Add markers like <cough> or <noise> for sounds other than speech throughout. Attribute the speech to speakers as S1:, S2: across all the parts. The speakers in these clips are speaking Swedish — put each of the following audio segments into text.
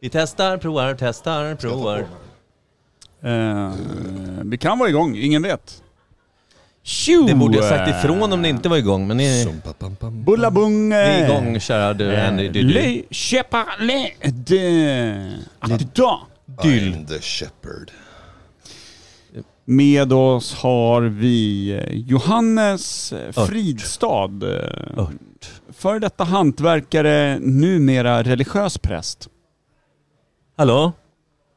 S1: Vi testar, provar, testar, provar.
S2: Eh, vi kan vara igång, ingen vet.
S3: Tjo!
S1: Det borde jag sagt
S2: Oh.
S1: ifrån om ni inte var igång, men ni,
S2: Bullabung!
S1: ni är igång kära du Henry. Du, du.
S2: Eh. Le Cheparlet de Attida.
S4: I'm the shepherd.
S2: Med oss har vi eh, Johannes Fridstad. eh, Före detta hantverkare, numera religiös präst.
S1: Hallå?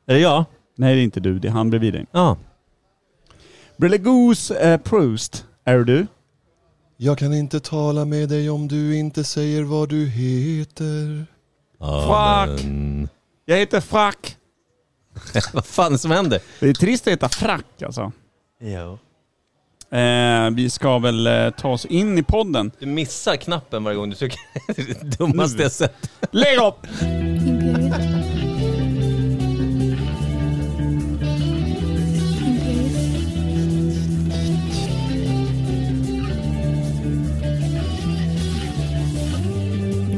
S1: Är det jag?
S2: Nej, det är inte du. Det är han bredvid dig.
S1: Ja.
S2: Brille Goose eh, Proust. Är det du?
S4: Jag kan inte tala med dig om du inte säger vad du heter.
S2: Frack! Jag heter Frack.
S1: <laughs> Vad fan är det som händer?
S2: Det är trist att heta Frack alltså.
S1: Ja.
S2: Eh, vi ska väl eh, ta oss in i podden.
S1: Du missar knappen varje gång du trycker. <laughs> Det är det dummaste jag sett.
S2: Lägg upp!
S5: Imperiet. Imperiet.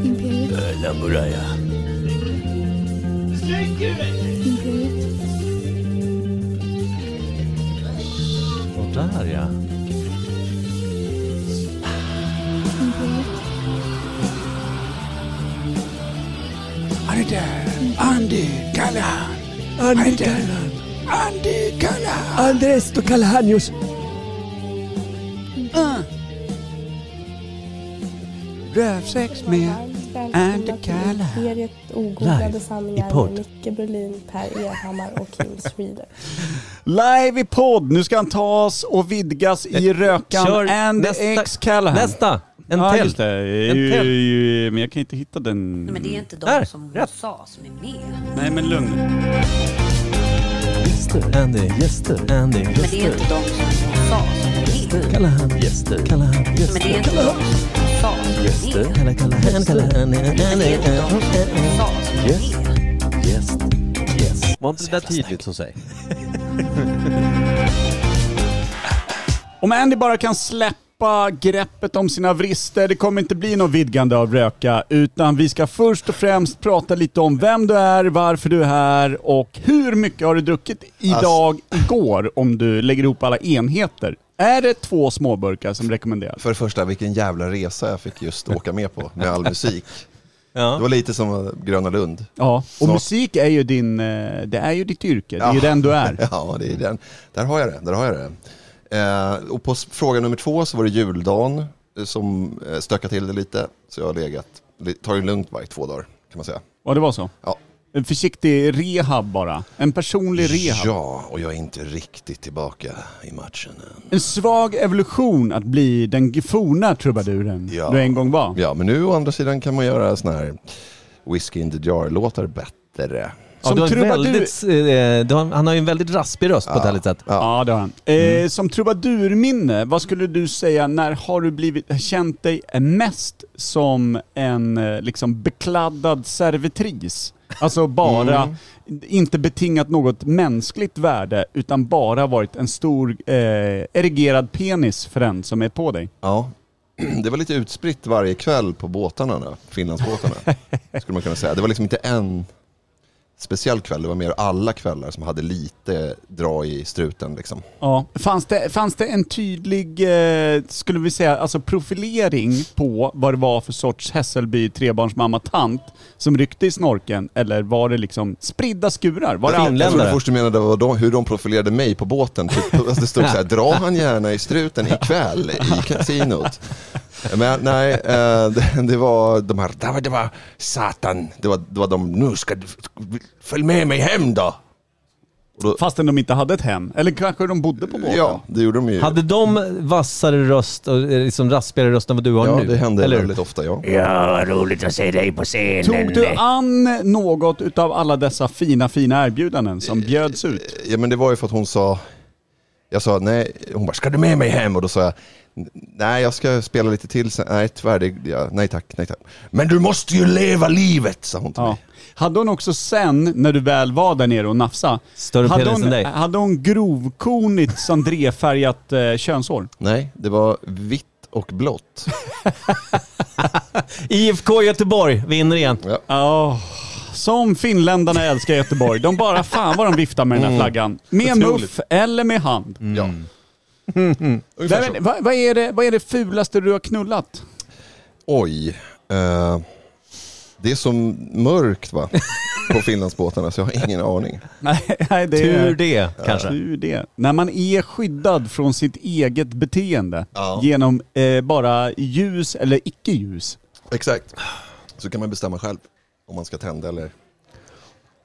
S5: Imperiet.
S1: Lamboraya.
S5: Imperiet.
S1: Och där ja.
S5: Imperiet.
S2: Andy Callahan. Andy Callahan. Andy Callahan.
S6: Andrés Tocalhanius.
S2: Ah. Rövsex med Andy Callahan.
S7: Imperiet ogooglade
S1: Live i
S7: sanningar
S1: podd.
S7: med Micke Berlin, Per Evhammar och Kim Schreeder.
S2: Live i podd. Nu ska han tas och vidgas i rökan. Andy X Callahan.
S1: Eh, Nästa! En
S2: ja,
S1: till.
S2: just det.
S1: En
S2: Ju-
S1: till.
S2: ju- Men jag kan inte hitta den.
S8: Nej, men det är inte de
S1: Mm. Där,
S8: som hon
S1: rätt.
S8: sa som är med.
S2: Nej, men lugn.
S6: Gäster.
S1: Andy.
S6: Gäster.
S1: Andy.
S8: Men det är inte de som hon sa som är med.
S1: Callahan.
S6: Gäster.
S1: Callahan.
S8: Men det är inte de som hon sa som är med.
S1: Callahan. Callahan.
S8: Men det är inte de som
S1: Callahan.
S8: hon sa som är med.
S6: Gäst. Gäst.
S1: Var inte det där tydligt hos sig?
S2: Om Andy bara kan släppa greppet om sina vrister, det kommer inte bli något vidgande av röka, utan vi ska först och främst prata lite om vem du är, varför du är här och hur mycket har du druckit idag,
S4: Alltså-
S2: igår, om du lägger ihop alla enheter. Är det två småburkar som rekommenderas?
S4: För det första, vilken jävla resa jag fick just åka med på med all musik. Det
S1: Ja.
S4: var lite som Gröna Lund.
S2: Ja, och
S4: Snart.
S2: musik är ju din, eh, det är ju ditt yrke, det är ju
S4: Ja.
S2: den du är.
S4: <laughs> Ja, det är den. Där har jag det. Där har jag det. Eh, och på s- fråga nummer två så var det juldagen eh, som eh, stökade till det lite. Så jag har legat, li- tagit det lugnt bara i två dagar kan man säga.
S2: Ja, det var så.
S4: Ja.
S2: En försiktig rehab bara. En personlig rehab.
S4: Ja, och jag är inte riktigt tillbaka i matchen än.
S2: En svag evolution att bli den forna trubaduren
S4: Ja.
S2: du en gång var.
S4: Ja, men nu å andra sidan kan man göra såna här Whiskey in the jar-låtar bättre.
S1: Ja,
S2: Som
S1: du har en
S2: trubadur...
S1: väldigt, eh, du har, han har ju en väldigt raspig röst på ett härligt sätt.
S4: Ja.
S2: Ja, det har han.
S1: Mm.
S2: Eh, som trubadurminne, vad skulle du säga, när har du blivit, känt dig mest som en eh, liksom bekladdad servitris? Alltså bara,
S1: Mm.
S2: inte betingat något mänskligt värde, utan bara varit en stor eh, erigerad penis för den som är på dig.
S4: Ja. <clears throat> Det var lite utspritt varje kväll på båtarna, då, Finlandsbåtarna. skulle man kunna säga. Det var liksom inte en speciell kväll, det var mer alla kvällar som hade lite dra i struten. Liksom.
S2: Ja. Fanns, det, fanns det en tydlig, eh, skulle vi säga, alltså profilering på vad det var för sorts Hässelby trebarnsmamma-tant som ryckte i snorken? Eller var det liksom spridda skurar? Var det
S1: Jag
S2: all-
S4: Jag trodde
S1: Finländare?
S4: först du menade vad de, hur de profilerade mig på båten. Typ, alltså det stod så här, dra han gärna i struten ikväll i kasinot. Men nej, eh, det, det var de här, det var, det var satan, det var, det var de, nu ska du, följ med mig hem då. Och då
S2: Fastän de inte hade ett hem? Eller kanske de bodde på båten?
S4: ja, det gjorde de ju.
S1: Hade de vassare röst, och eh, liksom raspigare röst än vad du har
S4: ja,
S1: nu?
S4: det hände
S1: Eller?
S4: väldigt ofta, ja.
S6: Ja, roligt att se dig på scenen.
S2: Tog du an något utav alla dessa fina, fina erbjudanden som
S1: Eh,
S2: bjöds ut?
S4: Ja men det var ju för att hon sa, jag sa nej, hon bara ska du med mig hem? Och då sa jag, nej jag ska spela lite till sen, nej tyvärr, det, ja, nej tack, nej tack. Men du måste ju leva livet, sa hon till
S2: Ja.
S4: mig.
S2: Hade hon också sen, när du väl var där nere och nafsa
S1: Större
S2: hade
S1: penis
S2: hon,
S1: än dig.
S2: hade hon grovkornigt sandrefärgat eh, könshår?
S4: Nej, det var vitt och
S2: <laughs>
S4: blått.
S1: IFK Göteborg vinner igen.
S2: Ja, som finländarna älskar Göteborg. De bara fan vad de viftar med den här flaggan. Med
S4: Mm. Otroligt. Mm.
S2: muff eller med hand.
S4: Ja. <laughs> Ungefär
S2: Mm. Nej,
S4: så.
S2: men, vad, vad, är det, vad är det fulaste du har knullat?
S4: <laughs> Oj. eh, det är så mörkt
S2: <laughs>
S4: va? På Finlandsbåtarna så jag har ingen aning.
S2: Nej, nej det är...
S1: Tur det kanske.
S2: Tur det. När man är skyddad från sitt eget beteende
S4: Ja.
S2: genom eh, bara ljus eller icke-ljus.
S4: Exakt. Så kan man bestämma själv om man ska tända eller...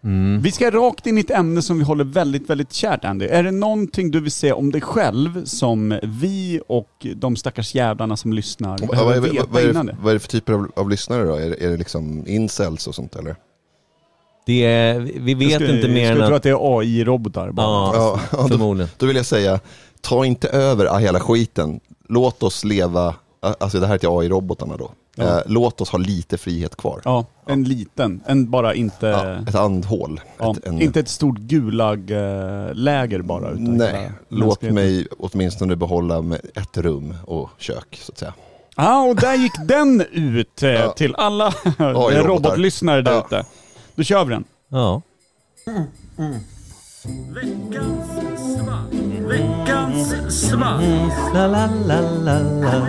S4: Mm.
S2: Vi ska rakt in i ett ämne som vi håller väldigt, väldigt kärt Andy. Är det någonting du vill säga om dig själv som vi och de stackars jävlarna som lyssnar
S4: Vad, vad,
S2: behöver
S4: är-
S2: veta
S4: vad, vad, är,
S2: innan
S4: det-
S2: det?
S4: vad är det för typer av, av lyssnare då? Är, det- är det liksom incels och sånt eller?
S1: Det är, vi
S2: Jag
S1: vet
S2: skulle-
S1: inte mer
S2: Jag
S1: än
S2: skulle tro
S1: att...
S2: att det är AI-robotar bara.
S1: Ja, förmodligen.
S4: Då vill jag säga, ta inte över ah, hela skiten. Låt oss leva, ah, alltså det här är till AI-robotarna då.
S2: Ja.
S4: Eh, låt oss ha lite frihet kvar.
S2: Ja, en liten. En bara inte...
S4: Ja,
S1: Eh,
S4: ett andhål.
S2: ja,
S4: ett, en-
S2: Inte ett stort Gulag-läger bara. Utan
S4: Nej,
S2: hela
S4: låt
S2: mänskligheten.
S4: mig åtminstone behålla med ett rum och kök så att säga.
S2: Ja, och där gick den ut eh,
S4: <laughs>
S2: till alla
S4: robotar.
S2: robotlyssnare där
S4: Ja.
S2: ute. Då kör vi den.
S1: Ja. La, la, la, la, la.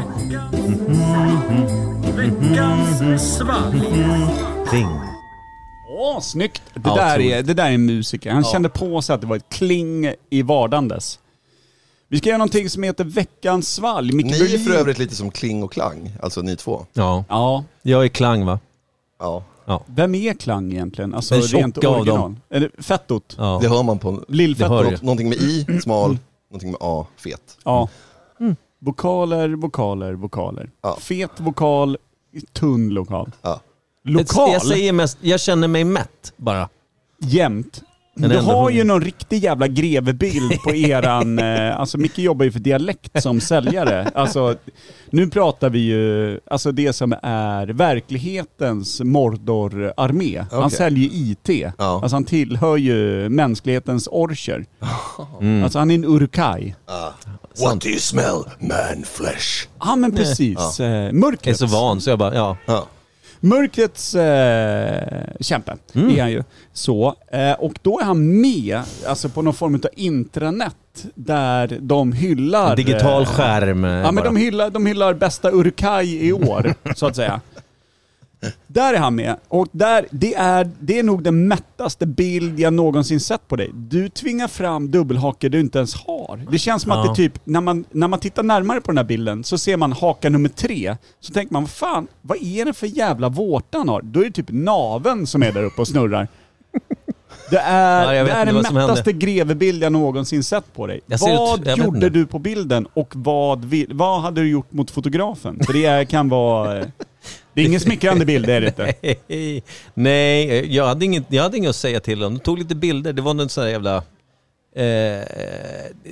S1: Kling.
S2: Åh, snyggt! Det
S1: Ja,
S2: där, är,
S1: otroligt.
S2: det där är en musiker. Han kände på sig att det var ett kling i vardandes. Vi ska göra någonting som heter Veckans svalg. Micke
S4: Ni är
S2: Berlin-
S4: för övrigt lite som Kling och Klang, alltså ni två.
S1: Ja,
S2: Ja,
S1: jag är klang va?
S4: Ja,
S2: vem är Klang egentligen? Alltså
S1: Den tjocka
S2: rent
S1: av
S2: original.
S1: dem.
S2: Är det Fettot?
S1: Ja.
S4: det hör man på
S1: Det hör
S2: Lillfettot?
S1: jag.
S4: något, någonting med I, smal, någonting med A, fet.
S2: Ja. Vokaler, vokaler, vokaler.
S4: Ja.
S2: Fet vokal, tunn lokal.
S4: Ja.
S2: Lokal,
S1: Jag säger mest, jag känner mig mätt bara.
S2: jämt.
S1: Den
S2: Du
S1: enda
S2: har ju
S1: hon-
S2: någon riktig jävla grevebild
S1: <laughs>
S2: på eran... eh, alltså Micke jobbar ju för dialekt som säljare. Alltså, nu pratar vi ju... Alltså det som är verklighetens Mordor-armé. Han
S4: Okej.
S2: säljer IT. Alltså han tillhör ju mänsklighetens
S1: <laughs>
S2: orcher. Alltså han är en urkai.
S4: What do you smell? Man flesh.
S2: Ja men precis. Eh, mörkrets.
S1: Jag är så van så jag bara, ja.
S4: Ja.
S2: Mörkrets eh, kämpe
S1: Mm.
S2: är han ju. Så, eh, och då är han med alltså på någon form av intranät där de hyllar...
S1: En digital
S2: eh,
S1: skärm.
S2: Ja men de hyllar, de hyllar bästa Urkai
S1: <laughs>
S2: i år, så att säga. Där är han med. Och där, det, är, det är nog den mättaste bild jag någonsin sett på dig. Du tvingar fram dubbelhakar du inte ens har. Det känns som att
S1: Ja.
S2: det typ, när man, när man tittar närmare på den här bilden så ser man haka nummer tre. Så tänker man, fan, vad är det för jävla vårta han har? Då är det typ naven som är där uppe och snurrar. Det
S1: Ja,
S2: är,
S1: jag
S2: det
S1: vet
S2: är
S1: inte
S2: den
S1: vad som hände.
S2: mättaste grevebild jag någonsin sett på dig.
S1: Jag ser ut-
S2: Vad
S1: jag vet
S2: gjorde
S1: inte.
S2: du på bilden och vad, vill, vad hade du gjort mot fotografen? För det är- kan vara... eh, Det är ingen smickrande bild, det är det inte.
S1: Hej. <laughs> Nej, jag hade, inget, jag hade inget att säga till om. De tog lite bilder. Det var någon sån här jävla... Eh,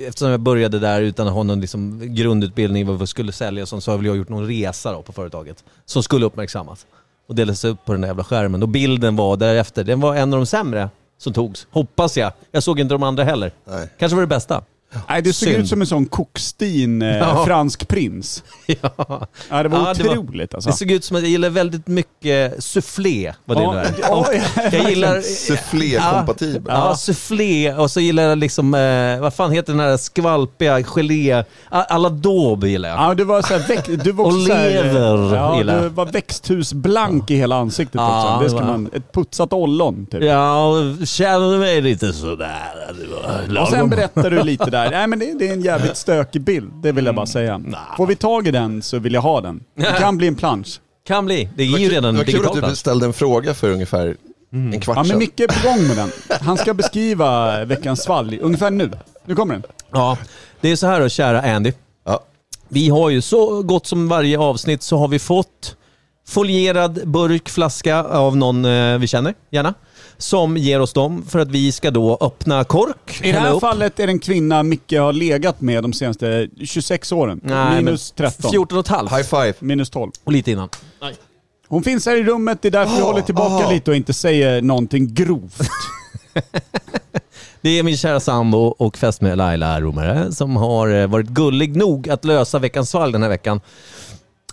S1: eftersom jag började där utan att ha någon liksom grundutbildning i vad vi skulle sälja och sånt, så har väl jag gjort någon resa då på företaget som skulle uppmärksammas. Och delades upp på den där jävla skärmen. Och bilden var därefter, den var en av de sämre som togs. Hoppas jag. Jag såg inte de andra heller.
S4: Nej.
S1: Kanske var det bästa.
S2: Nej, du såg
S1: Synd.
S2: ut som en sån kokstin eh,
S1: Ja.
S2: fransk prins.
S1: <laughs> ja.
S2: Ja, det var
S1: Ja, det var-
S2: otroligt
S1: Det
S2: alltså.
S1: såg ut som att jag gillar väldigt mycket soufflé, vad det
S2: Ja,
S1: nu är.
S2: ja,
S1: Och jag
S2: <laughs>
S1: gillar
S4: Soufflé-kompatibel.
S1: Ja, soufflé och så gillar jag liksom, eh, vad fan heter den här skvalpiga gelé, A- alla daube gillar jag.
S2: Ja, du var såhär, väck, du var
S1: Och
S2: också så här, eh,
S1: lever,
S2: ja,
S1: gillar
S2: du
S1: jag.
S2: var växthusblank i hela ansiktet
S1: Ja,
S2: också. Det ska
S1: det var-
S2: man, ett putsat ollon typ.
S1: Ja, och känner mig lite sådär. Det var
S2: Och sen
S1: lagom.
S2: berättar du lite där. Nej men det, det är en jävligt stökig bild, det vill jag
S1: Mm.
S2: bara säga. Får vi tag i den så vill jag ha den.
S1: <laughs>
S2: Det kan bli en plansch.
S1: Kan bli. Det är
S4: Det
S1: ju
S4: var, kul,
S1: redan
S4: det var kul att
S1: digitalt. Mm.
S4: du
S1: alltså.
S4: ställde en fråga för ungefär en kvart
S2: Ja men
S4: sedan.
S2: Micke är på gång med den. Han ska beskriva veckans svalg ungefär nu. Nu kommer den.
S1: alltså. Ja, det är så här då, kära Andy.
S4: Ja.
S1: Vi har ju så gott som varje avsnitt så har vi fått folierad burkflaska av någon eh, vi känner, gärna. Som ger oss dem för att vi ska då öppna kork.
S2: I det
S1: hälla
S2: här
S1: upp.
S2: fallet är det en kvinna Micke har legat med de senaste 26 åren.
S1: Nej,
S2: Minus
S1: men
S2: 13.
S1: 14 och ett halvt.
S4: High five.
S2: Minus 12.
S1: Och lite innan.
S2: Hon finns här i rummet, det är därför jag håller tillbaka lite och inte säger någonting grovt.
S1: Det är min kära sambo och fästmö Laila Romare som har eh, varit gullig nog att lösa veckans fall den här veckan.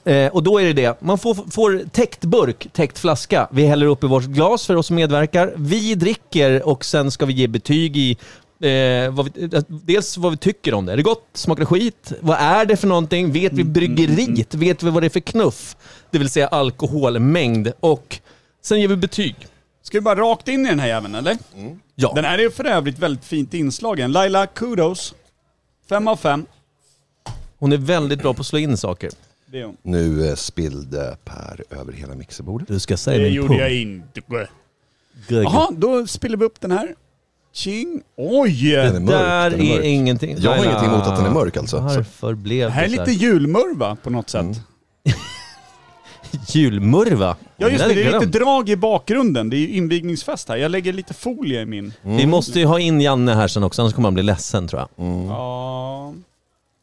S1: Eh, och då är det det. Man får, får täckt burk, täckt flaska. Vi häller upp i vårt glas för oss som medverkar. Vi dricker och sen ska vi ge betyg i Eh, vad vi, eh, dels vad vi tycker om det. Är det gott? Smakar det skit? Vad är det för någonting? Vet vi bryggeriet? Vet vi vad det är för knuff? Det vill säga alkoholmängd. Och sen ger vi betyg.
S2: Ska vi bara rakt in i den här jäveln eller?
S1: Ja.
S2: Den här är för övrigt väldigt fint inslagen. Laila, kudos. Fem av fem.
S1: Hon är väldigt bra på att slå in saker.
S2: Det, är hon.
S4: Nu eh, spillde Per över hela mixerbordet.
S1: Du ska säga
S2: det
S1: min
S2: gjorde
S1: pung.
S2: jag inte.
S1: Guggen.
S2: Jaha, då spiller vi upp den här. Tjing. Oj!
S4: Den är
S2: Det
S4: mörk.
S1: Där
S4: den är
S1: är
S4: mörk.
S1: ingenting.
S4: Jag har
S1: Laila,
S4: ingenting emot att den är mörk alltså. Så,
S1: Varför blev det
S2: här är
S1: så
S2: lite julmurva på något sätt.
S1: Mm. julmurva?
S2: Ja
S1: Den
S2: just det,
S1: hade
S2: det är
S1: jag glömt.
S2: lite drag i bakgrunden. Det är ju invigningsfest här. Jag lägger lite folie i min.
S1: Vi måste ju ha in Janne här sen också, annars kommer han bli ledsen tror
S4: Mm.
S1: jag.
S2: Ja,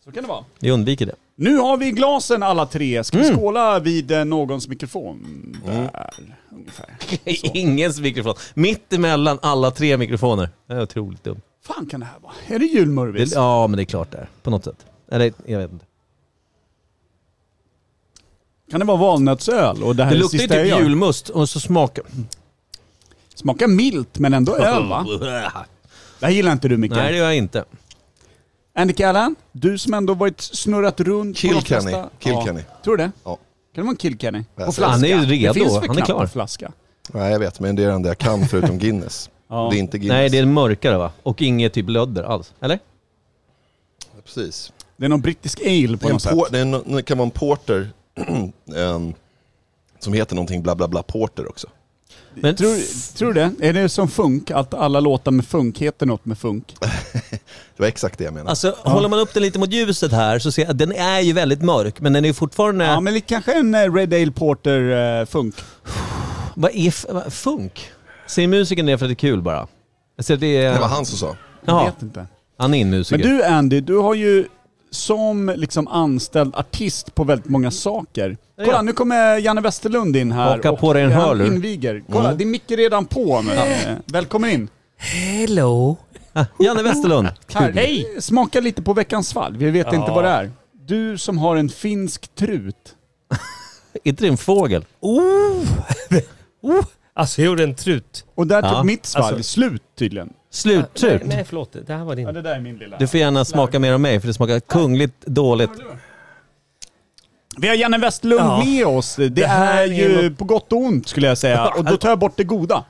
S2: så kan det vara.
S1: Vi undviker <laughs> det.
S2: Nu har vi glasen alla tre. Ska
S1: Mm.
S2: vi skåla vid eh, någons mikrofon? Där, ungefär.
S1: Ingens mikrofon. Mitt emellan alla tre mikrofoner. Det är otroligt dumt.
S2: fan kan det här vara? Är det
S1: Det,
S2: julmurvis?
S1: ja, men det är klart det är. På något sätt. Eller, jag vet inte.
S2: Kan det vara valnötsöl? Och det här
S1: Det
S2: är
S1: luktar ju
S2: sista jag
S1: typ
S2: gör.
S1: julmust och så smakar...
S2: Smakar milt
S1: <laughs>
S2: men ändå öl va? Det här gillar inte du Micke.
S1: Nej, det gör jag inte.
S2: Andy Callan, du som ändå varit snurrat runt på de
S4: Kilkenny.
S2: flesta-
S4: Kilkenny.
S2: Ja. Tror du det?
S4: Ja.
S2: Kan det vara en Kilkenny?
S4: Ja,
S2: På
S4: så- Han
S2: flaska?
S1: är ju redo.
S2: Det finns väl
S1: Han är
S2: knappt
S1: klar.
S2: en flaska?
S4: Nej jag vet, men det är det enda jag kan
S2: <laughs>
S4: förutom Guinness.
S2: Ja.
S4: Det är inte Guinness.
S1: Nej, det är mörkare va? Och inget typ lödder alls. Eller?
S4: Precis.
S2: Det är någon brittisk ale
S4: Det,
S2: på
S4: är en
S2: något sätt.
S4: por- det, är en, det kan vara en porter <clears throat> em, som heter någonting bla bla bla porter också.
S1: Men
S2: Tror, tror du det? Är det som funk? Att alla låtar med funk heter något med funk?
S4: Det var exakt det jag menade.
S1: alltså, håller man upp den lite mot ljuset här så ser jag att den är ju väldigt mörk, men den är ju fortfarande...
S2: Ja, men det kanske är en eh, Red Ale Porter eh, funk.
S1: Vad är f- vad- funk? Ser musiken det för att det är kul bara? Jag ser att det är...
S4: det var han som sa.
S2: Jag
S1: Jaha,
S2: vet inte.
S1: han är en
S2: Men
S1: musiker.
S2: du Andy, du har ju som liksom anställd artist på väldigt många saker. Kolla,
S1: Ja.
S2: nu kommer Janne Westerlund in här eh,
S1: Haka på dig en
S2: han
S1: hörlur. Mm.
S2: inviger. Kolla, det är Micke redan på nu. Eh, Välkommen in.
S6: Hello.
S1: Ah, Janne
S2: <laughs>
S1: Westerlund.
S2: Här, hej! Smaka lite på veckans fall, vi vet inte vad det är. Du som har en finsk trut.
S1: Är inte det en fågel?
S3: Oh! <laughs> oh! Alltså jag gjorde en trut.
S2: Och där
S1: Ja,
S2: tog mitt svalg
S3: alltså-
S2: slut tydligen.
S1: Sluttrut.
S3: Nej, nej förlåt, det här var
S2: Ja,
S3: din.
S2: det där är min lilla...
S1: Du får gärna smaka mer av mig för det smakar kungligt dåligt.
S2: Vi har Janne Westlund
S3: Ja.
S2: med oss. Det,
S3: här
S2: är
S3: är
S2: ju på gott och ont skulle jag säga. Och då tar jag bort det goda.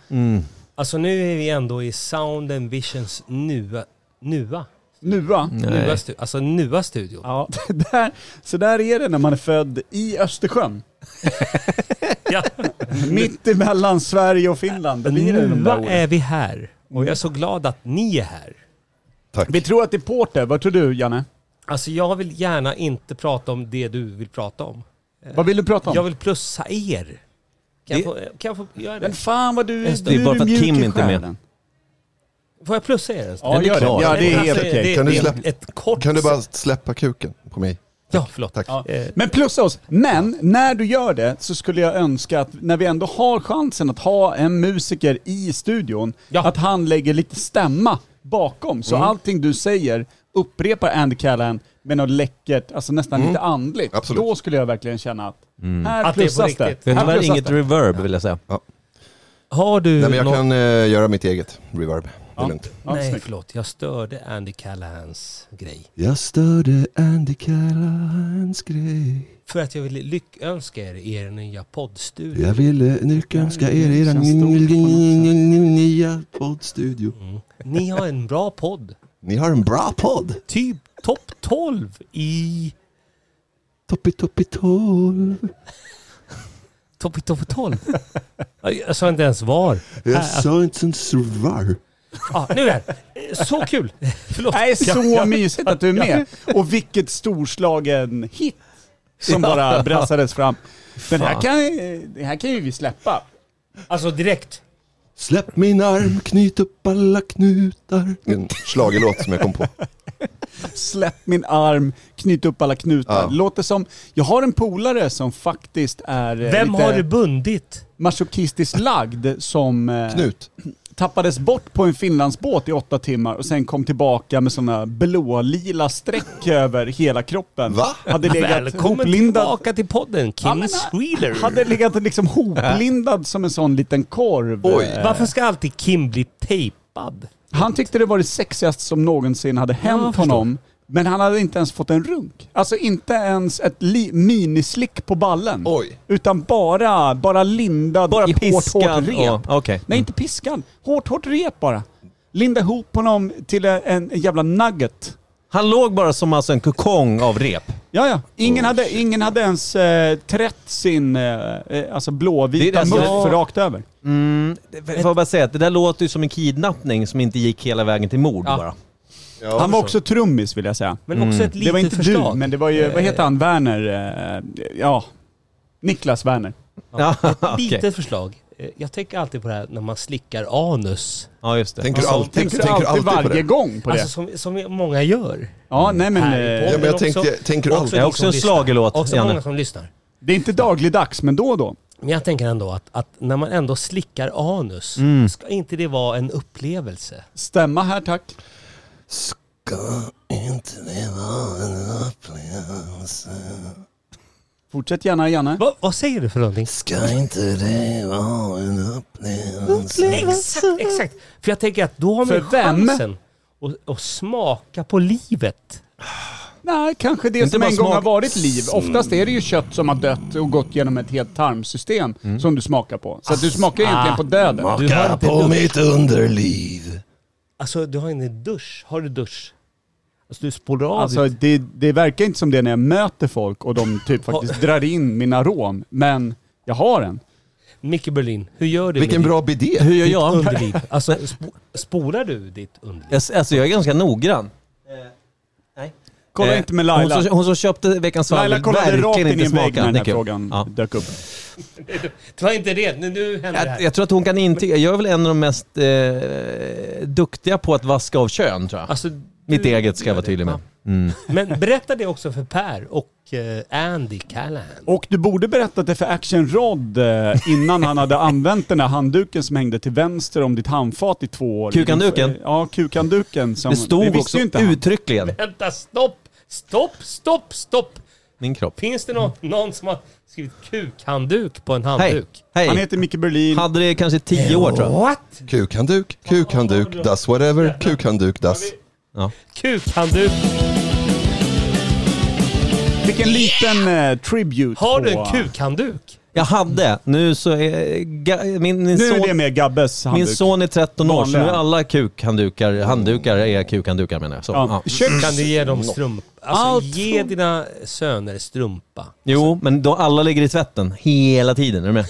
S3: Alltså nu är vi ändå i Sound and Visions nua, nua,
S2: Nu va?
S3: nua, stu, alltså nua studio.
S2: Ja, <laughs> det där, så där är det när man är född i Östersjön.
S3: Ja.
S2: <laughs> Mitt emellan Sverige och Finland. Det blir det de där
S3: Nua
S2: orden.
S3: är vi här. Och jag är så glad att ni är här.
S4: Tack.
S2: Vi tror att det är porter. Vad tror du Janne?
S3: Alltså jag vill gärna inte prata om det du vill prata om.
S2: Vad vill du prata om?
S3: Jag vill plussa er. Kan, jag
S1: Det-
S3: få, kan jag få göra
S2: Men
S3: det?
S2: fan vad du,
S1: Det är bara för att Kim inte är med.
S3: Får jag plussa er en stund?
S2: Ja,
S1: Den är
S2: gör det.
S1: klar.
S2: Ja, det är helt
S3: Alltså,
S2: okej.
S3: det-
S4: Kan du
S3: det är
S4: släppa-
S3: Ett kort...
S4: Kan du bara släppa kuken på mig?
S3: Ja, förlåt.
S4: Tack.
S2: Ja.
S3: Eh,
S2: Men plussa oss. Men när du gör det så skulle jag önska att när vi ändå har chansen att ha en musiker i studion,
S3: Ja.
S2: att han lägger lite stämma bakom. Så allting du säger upprepar Andy Callan med något läckert, alltså nästan lite andligt.
S4: Absolut.
S2: Då skulle jag verkligen känna att
S3: Att
S2: här
S3: det är på
S2: plussas det.
S3: riktigt.
S1: Det är
S2: Här
S1: tyvärr
S2: plussas
S1: inget
S2: det.
S1: reverb vill jag säga.
S3: Har du
S4: Nej men jag
S3: någon-
S4: kan eh, göra mitt eget reverb. Det är lugnt.
S2: Ja,
S3: Nej,
S2: snyggt.
S3: förlåt. Jag störde Andy Callahans grej.
S4: Jag störde Andy Callahans grej.
S3: För att jag ville lyckönska er i er nya poddstudio.
S4: Jag ville lyckönska er i
S2: känns stort på något Mm.
S4: den nya poddstudio.
S3: Ni har en bra podd.
S4: Ni har en bra podd.
S3: Typ topp 12 i...
S4: Toppi toppi tolv.
S3: Topp topp 12? Ja, Jag sa inte ens var.
S4: Jag sa inte ens var.
S3: Ah, nu är det Eh, Så kul! Förlåt.
S2: Nej, så
S3: <laughs> Ja, ja.
S2: mysigt att du är med. Och vilket storslagen hit som bara brassades fram. Den här,
S1: Fan.
S2: kan, den här kan ju vi släppa.
S3: Alltså direkt.
S4: Släpp min arm, knyt upp alla knutar. En schlagerlåt som jag kom på.
S2: Släpp min arm, knyt upp alla knutar.
S4: Ja.
S2: Låter som... Jag har en polare som faktiskt är eh,
S3: Vem
S2: lite
S3: har du bundit?
S2: masochistiskt lagd som... eh,
S4: Knut.
S2: tappades bort på en Finlandsbåt i åtta timmar och sen kom tillbaka med sådana blålila streck <laughs> över hela kroppen.
S4: Va?
S2: Hade legat
S3: Välkommen
S2: hoplindad,
S3: tillbaka till podden,
S2: Ja,
S3: Kim
S2: men, ah,
S3: Schreeder.
S2: hade legat liksom hoplindad som en sån liten korv.
S4: Oj.
S2: Eh,
S3: Varför ska alltid Kim bli tejpad?
S2: Han tyckte det var det sexigaste som någonsin hade
S3: jag
S2: hänt
S3: förstår.
S2: honom. Men han hade inte ens fått en runk. Alltså inte ens ett li- minislick på ballen.
S4: Oj.
S2: Utan bara, bara lindad
S1: Bara
S2: i hårt,
S1: piskan
S2: hårt rep.
S1: och- okej.
S2: Nej, inte piskan. Hårt, hårt rep bara. Linda ihop honom till en, en jävla nugget.
S1: Han låg bara som alltså en kokong av rep.
S2: Ja, ja. Ingen, hade, ingen hade ens eh, trätt sin eh, eh, alltså
S1: Det är
S2: blåvita
S1: det
S2: muff
S1: som-
S2: för rakt över.
S1: Får jag bara säga att det där låter ju som en kidnappning som inte gick hela vägen till mord
S3: Ja.
S1: bara.
S4: Ja.
S2: Han var också trummis vill jag säga.
S3: Men också ett litet
S2: Mm. det var inte
S3: förslag.
S2: du, men det var ju, vad heter han, Werner? eh, Ja, Niklas Werner.
S1: Ja, <laughs> okej.
S3: Litet förslag. Eh, Jag tänker alltid på det här när man slickar anus.
S1: ja just det.
S4: Tänker du
S3: Alltså,
S4: alltid,
S2: Tänker,
S4: tänker
S2: du alltid
S4: på
S2: varje
S4: det?
S2: gång på det?
S3: Alltså som, som många gör.
S2: ja, nej men
S3: Här i
S2: eh,
S4: Ja,
S3: podden
S4: men jag
S3: också.
S4: tänkte, tänker du
S3: Och
S4: alltid?
S1: Det är
S3: de
S1: också
S3: som
S1: en
S3: lyssnar.
S1: schlagerlåt,
S3: Också
S1: Janne.
S3: många som lyssnar.
S2: det är inte dagligdags, men då och då.
S3: Men jag tänker ändå att, att när man ändå slickar anus,
S4: Mm.
S3: ska inte det vara en upplevelse?
S2: Stämma här tack.
S4: Ska inte det vara en upplevelse?
S2: Fortsätt gärna Janne.
S3: Va, vad säger du för någonting?
S4: Ska inte det vara en upplevelse?
S3: Exakt, exakt. För jag tänker att då har man
S2: För
S3: ju
S2: vem?
S3: chansen att, att smaka på livet.
S2: Nej, kanske det
S1: Inte
S2: som
S1: bara
S2: en gång
S1: smak-
S2: har varit liv.
S3: Mm.
S2: Oftast är det ju kött som har dött och gått genom ett helt tarmsystem
S3: Mm.
S2: som du smakar på. Så att
S3: Ah.
S2: du smakar ju egentligen på döden.
S4: Maka på mitt underliv.
S3: Alltså du har ingen dusch. Har du dusch? Alltså du spolar av
S2: Alltså
S3: ditt...
S2: det, det verkar inte som det när jag möter folk och de typ faktiskt drar in min arom. Men jag har en.
S3: Micke Berlin, hur gör du
S4: Vilken
S3: med
S4: bra bidé.
S1: Hur <laughs> gör
S3: ditt, ditt
S1: jag?
S3: underliv? Alltså spo, spolar du ditt underliv?
S1: Jag- Alltså jag är ganska noggrann.
S2: Kolla
S1: Eh,
S2: inte med
S1: Hon
S2: Laila.
S1: som, hon som köpte veckans svammel
S2: Laila kollade
S1: verkligen
S2: rakt in i
S1: inte
S2: en vägg
S1: smakat.
S2: när den här
S1: Tycker jag.
S2: frågan
S1: Ja.
S2: dök upp.
S3: Ta inte det, nu, nu händer det
S1: Jag,
S3: här.
S1: jag tror att hon kan intyga. Jag är väl en av de mest eh, duktiga på att vaska av kön tror jag.
S3: Alltså, du-
S1: Mitt eget ska jag
S3: gör
S1: vara
S3: det.
S1: tydlig med. Mm.
S3: Ja. Men berätta det också för Per och eh, Andy Callan.
S2: Och du borde berättat det för Action Rod eh, innan
S1: <laughs>
S2: han hade använt den där handduken som hängde till vänster om ditt handfat i två år.
S1: Kukanduken?
S2: Ja, kukanduken. Som,
S1: Det stod
S2: visste
S1: också
S2: ju inte han.
S1: uttryckligen.
S3: Vänta, stopp! Stopp, stopp, stopp!
S1: Min kropp.
S3: Finns det någon, någon som har skrivit kukhandduk på en
S1: Hej!
S3: handduk?
S2: Han
S1: Hej!
S2: heter Micke Berlin.
S1: Hade det kanske tio år tror jag.
S3: What?
S4: Kukhandduk, kukhandduk, das whatever, kukhandduk, das.
S3: Kukhandduk.
S2: Vilken liten eh, tribute
S3: Har du
S2: på-
S3: en kukhandduk?
S1: Jag hade. Nu så är... ga- Min, min
S2: Nu är det
S1: son...
S2: med Gabbes handduk.
S1: Min son är 13 år, så nu
S2: Vanliga.
S1: är alla kukhanddukar, handdukar är kukhanddukar menar jag. Så,
S2: Ja.
S1: ja.
S2: Köks...
S3: Kan du ge dem strumpa? Alltså
S2: Allt
S3: ge
S2: från-
S3: dina söner strumpa.
S1: Jo, men då alla ligger i tvätten hela tiden, är du med?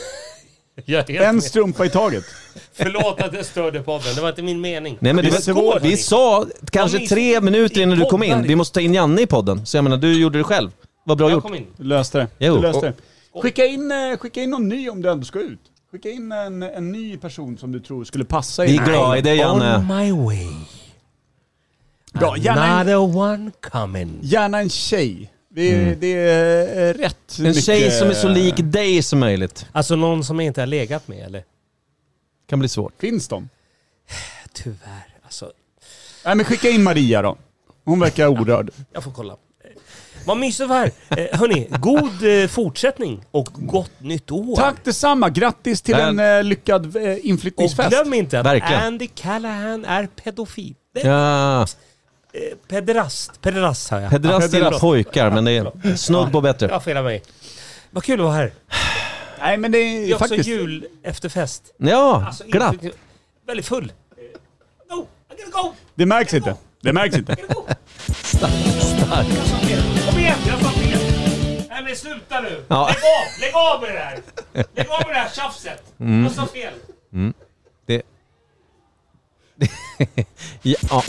S3: Jag är
S2: En
S3: helt med.
S2: strumpa i taget.
S3: Förlåt att jag störde podden, det var inte min mening.
S1: Nej, men det
S2: Vi
S1: var,
S2: skål,
S1: vi
S3: hörni.
S1: sa kanske
S3: miss-
S1: tre minuter
S3: i
S1: innan du kom in,
S3: poddar.
S1: vi måste ta in Janne i podden. Så jag menar, du gjorde det själv. Vad bra
S3: jag
S1: gjort.
S3: kom in.
S2: Du löste det.
S1: Jo.
S2: Du löste det. Skicka in, eh, skicka in någon ny om du ändå ska ut. Skicka in en, en ny person som du tror skulle passa
S1: Vi
S2: in.
S1: är glada i dig Janne.
S3: On my way.
S2: Bra, gärna en,
S3: Another one coming.
S2: gärna en tjej. Det är, det är eh, rätt
S1: Mm.
S2: eh,
S1: En tjej som är så lik dig som möjligt.
S3: Alltså någon som jag inte har legat med eller?
S1: Kan bli svårt.
S2: Finns de?
S3: Tyvärr. Alltså,
S2: Nej men skicka in Maria då. Hon verkar
S1: <laughs>
S2: orörd.
S3: jag får kolla. Eh, Vad mysigt det här. Eh, hörni, god eh, fortsättning och gott nytt år.
S2: Tack detsamma, grattis till
S1: Men-
S2: en eh, lyckad eh,
S3: Och
S2: inflyttningsfest.
S3: glöm inte att
S1: Verkligen.
S3: Andy Callahan är pedofil. Nej,
S1: Ja,
S3: eh, Pederast. Pederast har jag.
S1: pederast
S3: Ja,
S1: gillar pojkar men det är snudd på bättre.
S3: Jag felar mig. Vad kul att vara här.
S2: Nej men det är,
S3: Det är också
S2: faktiskt...
S3: jul efter fest.
S1: Ja,
S3: Alltså, inte-
S1: glatt.
S3: Väldigt full. Eh, Go! I gotta go!
S2: Det märks inte. Det
S1: <laughs>
S2: märks inte.
S3: I gotta go! Kom igen! Jag har fan fel. Nej men sluta nu!
S1: Ja.
S3: Lägg av! Lägg av med det här! Lägg av med det här tjafset! Jag sa fel.
S1: Det... <laughs> ja,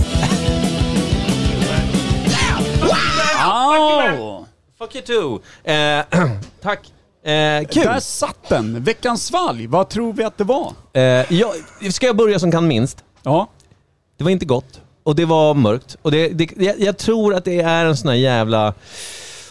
S2: Au!
S1: fuck you too. Eh, <clears throat> tack. Eh, kul.
S2: Där satt den! Veckans svalg, vad tror vi att det var?
S1: Eh, jag, ska jag börja som kan minst?
S2: Ja.
S1: Det var inte gott och det var mörkt. Och det, det, jag, jag tror att det är en sån här jävla...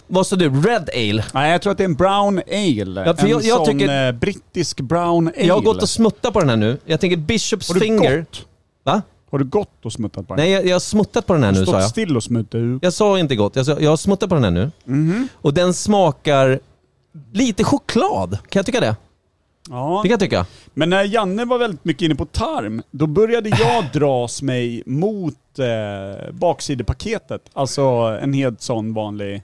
S1: Vad sa du? Red Ale?
S2: Nej, jag tror att det är en brown ale.
S1: Ja, för
S2: en
S1: jag- jag
S2: sån
S1: tycker-
S2: eh, brittisk brown ale.
S1: Jag har gått och smuttat på den här nu. Jag tänker Bishops
S2: Har du
S1: Finger.
S2: gått?
S1: Va?
S2: Har du gått och smuttat på den?
S1: Nej, jag, jag har smuttat på den här nu sa
S2: Stått
S1: jag.
S2: still och smutat ut?
S1: Jag sa inte gott. Jag, sa, jag har smuttat på den här nu.
S2: Mhm.
S1: Och den smakar lite choklad. Kan jag tycka det?
S2: Ja.
S1: Det kan jag tycka.
S2: Men när Janne var väldigt mycket inne på tarm, då började
S1: <laughs>
S2: jag dras mig mot eh, baksidepaketet. Alltså en helt sån vanlig...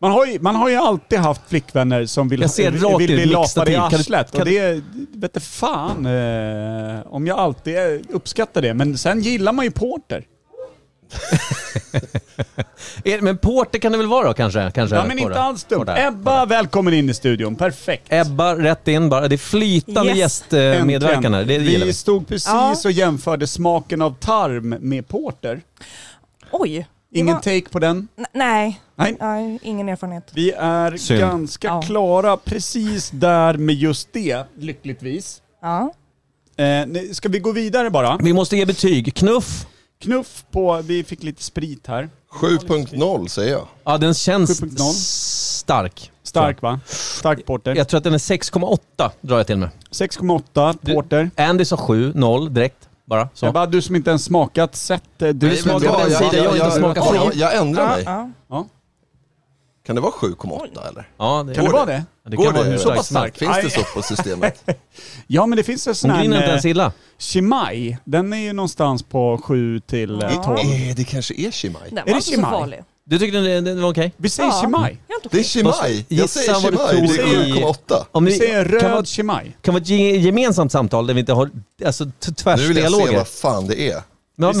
S2: Man har, ju, man har ju alltid haft flickvänner som vill,
S1: Jag ser
S2: vill,
S1: rakt
S2: vill
S1: i
S2: bli
S1: ditt
S2: lapade i
S1: stativ. Kan du-
S2: arslet.
S1: kan
S2: Och
S1: du-
S2: det vet du fan eh, om jag alltid eh, uppskattar det. Men sen gillar man ju porter.
S1: Är- Men porter kan det väl vara då kanske? kanske
S2: Ja, men inte
S1: Porter.
S2: alls dumt.
S1: Porter.
S2: Ebba, välkommen in i studion. Perfekt.
S1: Ebba, rätt in bara. Det är flytande
S7: Yes.
S2: Äntligen.
S1: gästmedverkan här. Det gillar
S2: Vi
S1: vi.
S2: stod precis
S9: Ja.
S2: och jämförde smaken av tarm med porter.
S9: Oj. det
S2: Ingen
S9: var-
S2: take på den.
S9: N- Nej.
S2: Nej.
S9: Nej, ingen erfarenhet.
S2: Vi är
S1: Synd.
S2: ganska
S9: Ja.
S2: klara precis där med just det, lyckligtvis.
S9: Ja.
S2: Eh, nu ska vi gå vidare bara?
S1: Vi måste ge betyg. Knuff.
S2: Knuff på, vi fick lite sprit här.
S4: 7.0 säger jag.
S1: Ja, den känns
S2: 7.0.
S1: stark.
S2: Stark va? Stark porter.
S1: Jag tror att den är 6,8 drar jag till med.
S2: 6,8
S1: Du-
S2: porter.
S1: Andy sa 7, 0 direkt. Bara så.
S2: Jag bara, du som inte ens smakat, sett eh, du
S1: Nej, men
S2: smakat.
S1: jag- jag- jag- jag- jag- smakar
S4: jag,
S1: fri.
S4: jag, jag ändrar
S9: Ja,
S4: mig.
S9: ja.
S4: Kan det vara 7,8 eller?
S1: Ja, det,
S2: Kan det vara det?
S1: det
S4: Går
S1: kan vara hur
S4: så pass
S1: starkt som
S4: starkt?
S1: helst.
S4: Finns
S2: Aj.
S4: det så på systemet?
S2: Ja men det finns en sån
S1: Hon griner inte
S2: här
S1: ens
S2: eh,
S1: illa.
S2: Chimay. Den är ju någonstans på 7 till eh,
S9: Ja.
S2: 12.
S4: Eh, det kanske är Chimay.
S9: Den
S2: det
S9: var inte så
S2: Chimay?
S9: farlig.
S1: Du tyckte den, den var okej?
S2: Vi säger
S9: Ja.
S2: Chimay.
S9: Jag är inte
S4: Det är
S9: okej.
S4: Chimay. Jag
S1: Gissa
S4: säger
S1: vad du
S4: Chimay. Det
S1: tror i-
S4: är 7,8.
S1: Om
S2: Vi säger
S1: kan vara, Eh,
S2: röd Chimay.
S1: kan vara ett ge- gemensamt samtal där vi inte har alltså, t-
S4: Nu vill jag se
S1: tvärsdialoger.
S4: vad fan det är.
S1: Men,
S2: Vi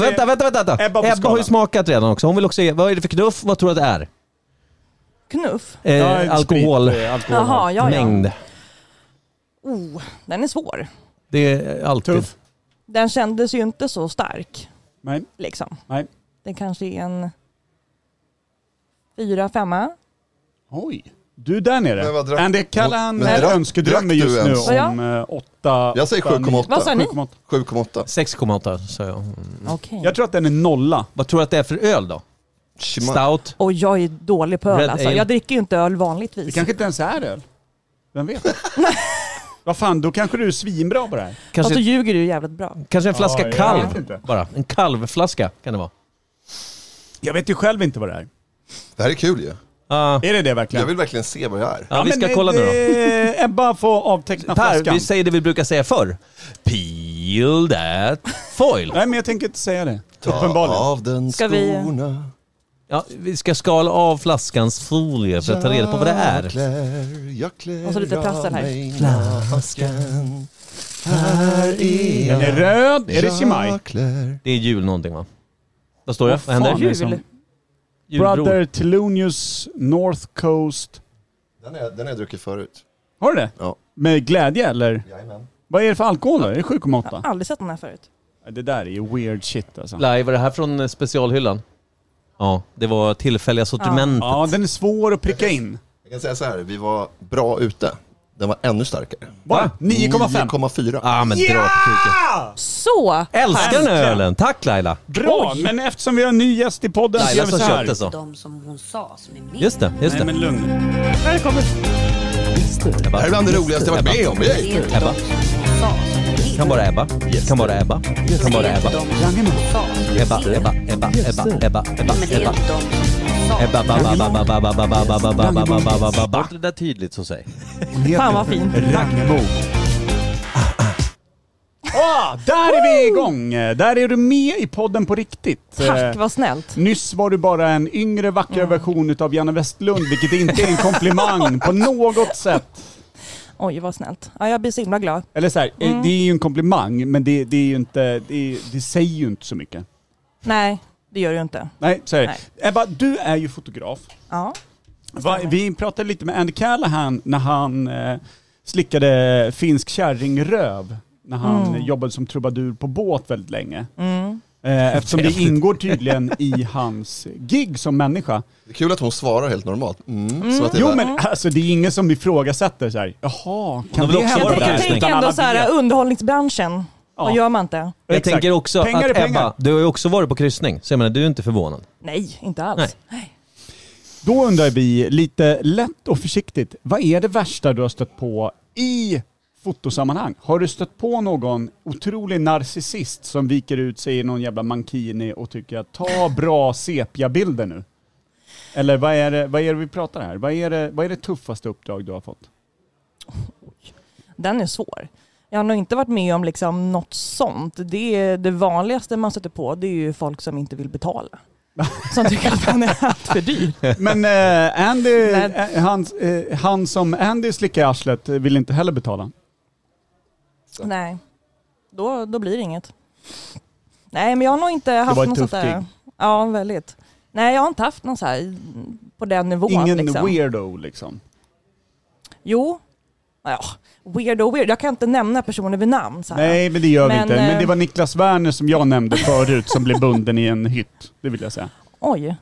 S1: vänta,
S2: säger-
S1: vänta, vänta, vänta.
S2: Ebba på
S1: Ebba, har ju
S2: skalan.
S1: smakat redan också. Hon vill också ge, vad är det för knuff? Vad tror du att det är?
S9: Knuff.
S1: Eh,
S2: Ja, en sprit,
S1: alkoholmängd.
S2: eh, alkohol.
S9: Jaha, ja, ja. Oh, den är svår.
S1: Det är alltid.
S2: Tuff.
S9: Den kändes ju inte så stark.
S2: Nej.
S9: Liksom.
S2: Nej.
S9: Den kanske är en fyra, femma.
S2: Oj. Du där
S4: Men vad
S2: nere.
S4: drack-
S2: Andy Callahan
S4: Men
S2: eh,
S4: drack-
S2: önskedrömmer
S4: drack du
S2: just
S4: ens?
S2: nu
S9: Ja.
S2: om eh, åtta...
S4: Jag säger
S2: åtta, nio-
S4: 7,8.
S9: Vad sa ni?
S2: 7,8.
S4: 7,8.
S1: 6,8 sa jag. Mm.
S9: Okej.
S2: Jag tror att den är nolla.
S1: Vad tror du att det är för öl då?
S4: Chimay.
S1: Stout?
S9: Och jag är dålig på
S1: Red
S9: öl alltså.
S1: ale.
S9: Jag dricker ju inte öl
S2: Det
S9: vanligtvis.
S2: kanske inte ens är öl.
S1: <laughs>
S2: Vem vet? Vad fan, då kanske du är svinbra på det här.
S9: Och så
S8: Alltså-
S1: Kanske,
S9: ljuger du jävligt bra.
S1: kanske en flaska
S2: Ja, jag vet
S1: kalv
S2: inte.
S1: bara. En kalvflaska kan det vara.
S2: Jag vet ju själv inte vad det är.
S4: Det här är kul ju.
S1: Ah,
S2: Är det det
S4: Jag
S2: verkligen?
S4: vill verkligen se vad jag är.
S1: ja, vi ska kolla nu då.
S2: nu då. Ebba får
S1: <laughs>
S2: avteckna
S1: Per,
S2: flaskan.
S1: vi säger det vi brukar säga förr. Peel that foil.
S2: Nej, men jag tänker inte säga det.
S4: Ta
S2: Uppenbarligen.
S4: av den
S9: Ska vi-
S4: skorna.
S1: Ja, vi ska skala av flaskans folie för att ta reda på vad det
S4: Jag
S1: är.
S4: klär, jag klär
S9: Och så lite prassel här.
S4: av mig Flaskan. Här är
S2: Den
S4: jag.
S2: är röd. Är det Chimay?
S4: Jag klär.
S1: Det är jul någonting va? Vad står det?
S2: Vad
S1: Vad händer?
S2: fan?
S9: Jul.
S2: som-
S1: Julbro.
S2: Brother Thelonious North Coast.
S4: Den är- den har jag druckit förut.
S2: Har du det?
S4: Ja.
S2: Med glädje eller?
S4: Jajamän.
S2: Vad är det för alkohol då? Är det 7,8?
S9: Jag har aldrig sett den här förut.
S2: Det där är ju weird shit alltså.
S1: Live, var det här från eh, specialhyllan? Ja, det var tillfälliga sortimentet.
S2: Ja, den är svår att pricka in.
S4: Jag kan säga så här, vi var bra ute. Den var ännu starkare.
S2: Bara 9,5.
S4: 9,4.
S1: Ah, men dra åt kuken.
S9: Så!
S1: Älskar den här
S2: Äntligen.
S1: ölen! Tack Laila!
S2: Bra, men eftersom vi har en ny gäst i podden så gör
S1: Laila
S2: vi så
S1: som
S2: här.
S1: köpte så.
S8: De som hon sa som är med.
S1: Just det, just
S2: Nej
S1: det.
S2: men lugn.
S4: Det här är bland det roligaste jag varit med om. Yay!
S8: Det är inte
S1: Ebba.
S8: de som hon sa som är med.
S1: Kan bara Ebba, kan bara Ebba, kan
S8: Det
S1: bara
S8: är inte
S1: Ebba.
S8: de som hon sa som är
S1: Ebba,
S8: med.
S1: Ebba, Ebba, Ebba, Ebba, Ebba,
S8: Ja, men det är
S1: Ebba.
S8: inte de som hon sa
S1: Ebba, ba, ba, ba, ba, ba, ba, ba, ba, ba, ba, ba, ba, ba, ba, ba, ba.
S10: det där tydligt så säg.
S9: Fan vad fint.
S2: Ragnemo. Ah, där är vi igång! Där är du med i podden på riktigt. Eh,
S9: Tack vad snällt.
S2: Nyss var du bara en yngre vackrare version utav Janne Westlund, vilket inte är en komplimang på något sätt.
S9: Oj vad snällt. Ja, jag blir så himla glad.
S2: Eller så här, eh,
S9: Mm.
S2: det är ju en komplimang, men det, det, är ju inte, det, är- det säger ju inte så mycket.
S9: Nej, det gör du inte.
S2: Nej, så är det.
S9: Nej.
S2: Ebba, du är ju fotograf.
S9: Ja.
S2: Va, vi pratade lite med Andy Callahan när han eh, slickade finsk kärringröv när han
S9: Mm.
S2: jobbade som trubadur på båt väldigt länge. Eh,
S1: <laughs>
S2: eftersom det ingår tydligen i hans gig som människa.
S4: Det är kul att hon svarar helt normalt. Mm. Så att det
S2: Jo
S4: var-
S2: men alltså det är ingen som ifrågasätter så här. jaha, kan
S1: vill
S2: det
S1: också
S2: hända
S1: vara
S9: Jag,
S1: det där
S2: där?
S9: tänker- tänker
S2: Utan
S9: ändå
S2: alla
S9: så här
S2: vet.
S9: underhållningsbranschen.
S2: Ja.
S9: Vad gör man inte?
S1: Jag
S2: Exakt.
S1: tänker också
S2: Pengar är
S1: att
S2: pengar.
S1: Ebba, du har ju också varit på kryssning, så jag menar du är inte förvånad.
S9: Nej, inte alls.
S1: Nej.
S9: Nej.
S2: Då undrar vi lite lätt och försiktigt, vad är det värsta du har stött på i fotosammanhang? Har du stött på någon otrolig narcissist som viker ut sig i någon jävla mankini och tycker att ta bra sepiabilder nu? Eller vad är det, vad är det vi pratar här? Vad är, det, vad är det tuffaste uppdrag du har fått?
S9: Den är svår. Jag har nog inte varit med om liksom något sånt. Det, är det vanligaste man stöter på det är ju folk som inte vill
S2: <laughs>
S9: betala. Som tycker att man är allt för dyr.
S2: Men eh, Andy,
S9: <laughs> Men-
S2: eh, han, eh, han som Andy slickar i arslet eh, vill inte heller betala.
S9: Nej, då, då blir det inget. Nej, men jag har nog inte haft
S2: var ett
S9: något
S2: tufft
S9: sånt där. Ja, väldigt. Nej, jag har inte haft någon så här på den nivån.
S2: Ingen
S9: liksom.
S2: weirdo liksom.
S9: Jo. Ja, weird och weird. Jag kan inte nämna personer vid namn. Så här.
S2: Nej, men det gör vi
S9: Men,
S2: inte.
S9: eh,
S2: Men det var Niklas Werner som jag nämnde förut som blev bunden i en hytt. Det vill jag säga.
S9: Oj. Ja,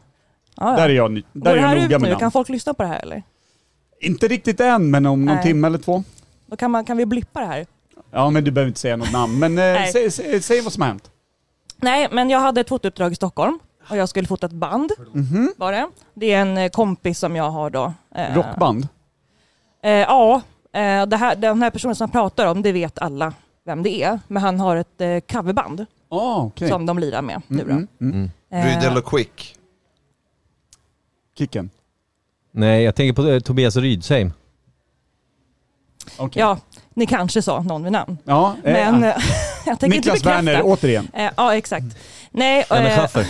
S9: ja.
S2: Där är jag, ny- där
S9: Går
S2: är
S9: det
S2: jag
S9: här
S2: noga
S9: ut
S2: med
S9: nu?
S2: namn.
S9: Kan folk lyssna på det här eller?
S2: Inte riktigt än, men om någon
S9: Nej.
S2: timme eller två.
S9: Då kan, man, kan vi blippa det här?
S2: Ja, men du behöver inte säga något namn. Men eh,
S9: Nej.
S2: sä, sä, säg vad som har hänt.
S9: Nej, men jag hade ett fotouppdrag i Stockholm och jag skulle fota ett band.
S2: Mhm.
S9: Var det. det är en eh, kompis som jag har då. eh,
S2: Rockband.
S9: Eh, ja, eh, det här, den här personen som jag pratar om, det vet alla vem det är. Men han har ett eh, coverband
S2: Ja, ah, okej.
S9: som de lirar med nu då.
S2: Mm, mm.
S9: Eh,
S4: Rydell och Quick.
S2: Kicken.
S1: Nej, jag tänker på eh, Tobias Rydsheim.
S2: Okej.
S9: ja, ni kanske sa någon vid namn.
S2: Ja, eh,
S9: Men eh, <laughs> jag tänker
S2: Niklas
S9: inte bekräfta.
S2: Werner, återigen. Mm.
S9: Eh, ja, exakt. Nej,
S1: Janne
S9: eh,
S1: Schaffer.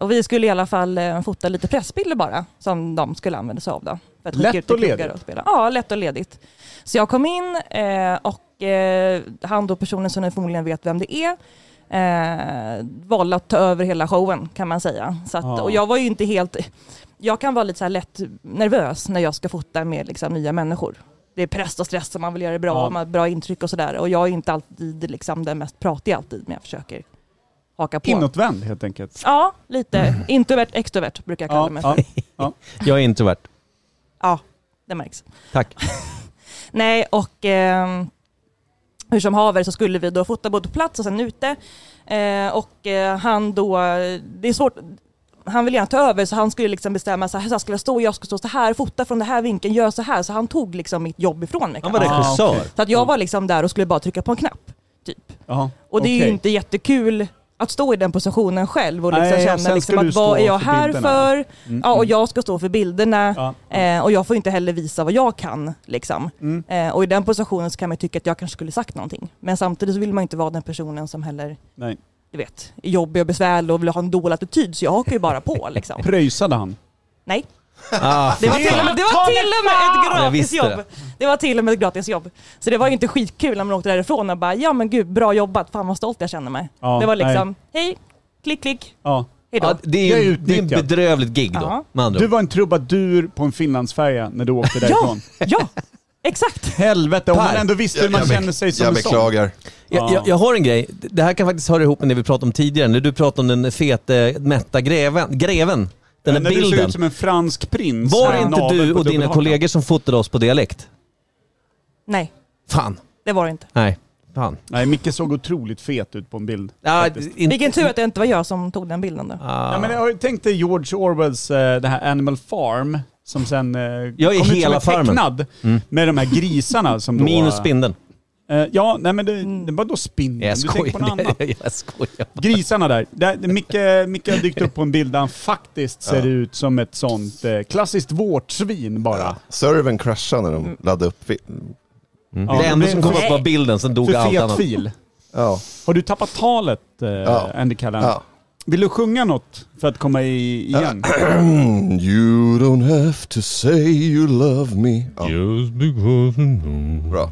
S9: och vi skulle i alla fall eh, fota lite pressbilder bara, som de skulle använda sig av då. För att
S2: Lätt
S9: skicka ut till
S2: och ledigt.
S9: krogar spela. Ja, lätt och ledigt. Så jag kom in eh, och eh, han då, personen som ni förmodligen vet vem det är, eh, valde att ta över hela showen kan man säga. Så att,
S2: Ja.
S9: Och jag var ju inte helt... Jag kan vara lite så här lätt nervös när jag ska fota med liksom, nya människor. Det är press och stress och man vill göra det bra,
S2: Ja.
S9: man har ett bra intryck och sådär. Och jag är inte alltid liksom, den mest pratiga alltid, men jag försöker haka på.
S2: Inåtvänd helt enkelt.
S9: Ja, lite. Introvert, extrovert brukar jag kalla
S2: Ja,
S9: mig för.
S2: ja.
S9: Ja.
S1: Jag är introvert.
S9: det märks.
S1: Tack.
S9: Nej, och ehm, hur som haver så skulle vi då fota både på plats och sen ute. Eh, och eh, han då, det är svårt, han vill gärna ta över så han skulle liksom bestämma så här, så här skulle jag stå, jag ska stå så här, fota från den här vinkeln, gör så här. Så han tog liksom mitt jobb ifrån mig. kan
S1: Han var
S9: man säga.
S1: regissör.
S2: okej.
S9: Så att jag var liksom där och skulle bara trycka på en knapp. Typ.
S2: Jaha,
S9: <laughs> Och det är ju
S2: okej.
S9: inte jättekul att stå i den positionen själv och liksom
S2: Nej, och sen
S9: känna liksom
S2: ska du
S9: att vad
S2: stå
S9: är jag
S2: för
S9: här
S2: bilderna. Mm,
S9: för? Ja, och jag ska stå för bilderna.
S2: Ja, ja. Mm.
S9: Eh, och jag får inte heller visa vad jag kan. Liksom. Eh, och i den positionen så kan man tycka att jag kanske skulle sagt någonting. Men samtidigt så vill man inte vara den personen som heller,
S2: Nej.
S9: du vet, är jobbig och besvärlig och vill ha en dålig attityd. Så jag hakar ju bara på
S2: <laughs>
S9: liksom.
S2: Pröjsade han?
S9: Nej,
S1: Ah,
S9: det var till och med, det var till och med ett
S1: Jag visste
S9: gratisjobb. Det var till och med ett gratisjobb. Så det var ju inte skitkul när man åkte därifrån och bara, ja men gud, bra jobbat, fan vad stolt jag känner mig.
S2: Ja,
S9: det var liksom, hej, klick, klick,
S2: Ja.
S9: hejdå.
S1: ja, det,
S2: Jag
S1: är
S2: är
S1: ju, det är en
S2: utnyttjad.
S1: bedrövligt gig då,
S9: Ja.
S1: med andra
S2: Du
S1: ord.
S2: var en trubadur på en finlandsfärja när du åkte därifrån.
S9: <laughs> ja, exakt.
S2: Helvete, om
S1: Per,
S2: man ändå visste hur man
S4: Jag- jag
S2: känner sig
S4: bek-
S2: som
S4: Jag
S2: en sån.
S4: beklagar.
S1: Jag, jag, jag har en grej. Det här kan faktiskt höra ihop med det vi pratade om tidigare. När du pratade om den fete, mätta greven. greven den
S2: Men
S1: där
S2: När du ser
S1: bilden.
S2: ut som en fransk prins.
S1: Var det
S2: med
S1: inte
S2: naveln
S1: du
S2: på
S1: och dina
S2: dubbelhakan.
S1: kollegor som fotade oss på dialekt?
S9: Nej,
S1: Fan.
S9: det var det inte.
S1: Nej. Fan.
S2: Nej, Micke såg otroligt fet ut på en bild.
S1: Ja,
S2: faktiskt.
S1: in,
S9: Vilken tur att det inte var jag som tog den bilden då.
S1: ah.
S2: Ja, men jag har ju tänkt dig George Orwells eh, det här Animal Farm som sen eh,
S1: Jag är
S2: kom ut som
S1: hela
S2: en
S1: farmen. Mm.
S2: tecknad med de här grisarna som då...
S1: Minus spindeln.
S2: eh, Ja, nej men det, det var då spindeln.
S1: Jag
S2: Du tänker på något
S1: skojar.
S2: annat.
S1: <laughs> Jag skojar.
S2: Grisarna där. där där Micke, Micke har dykt upp på en bild där han faktiskt ser ut som ett sånt eh, klassiskt vårtsvin bara.
S4: Ja. Servern kraschade när de laddade upp. vi-
S2: Ja,
S1: Mm. Det enda
S2: men
S1: som
S2: för-
S1: kom upp var bilden, sen dog
S2: För
S1: allt
S2: fet
S1: annat.
S2: fil.
S4: Ja.
S2: Har du tappat talet, eh,
S4: Ja.
S2: Andy Callan?
S4: ja. <clears throat>
S2: Vill du sjunga något för att komma i, igen?
S4: You don't have to say you love me. Ja. Bra.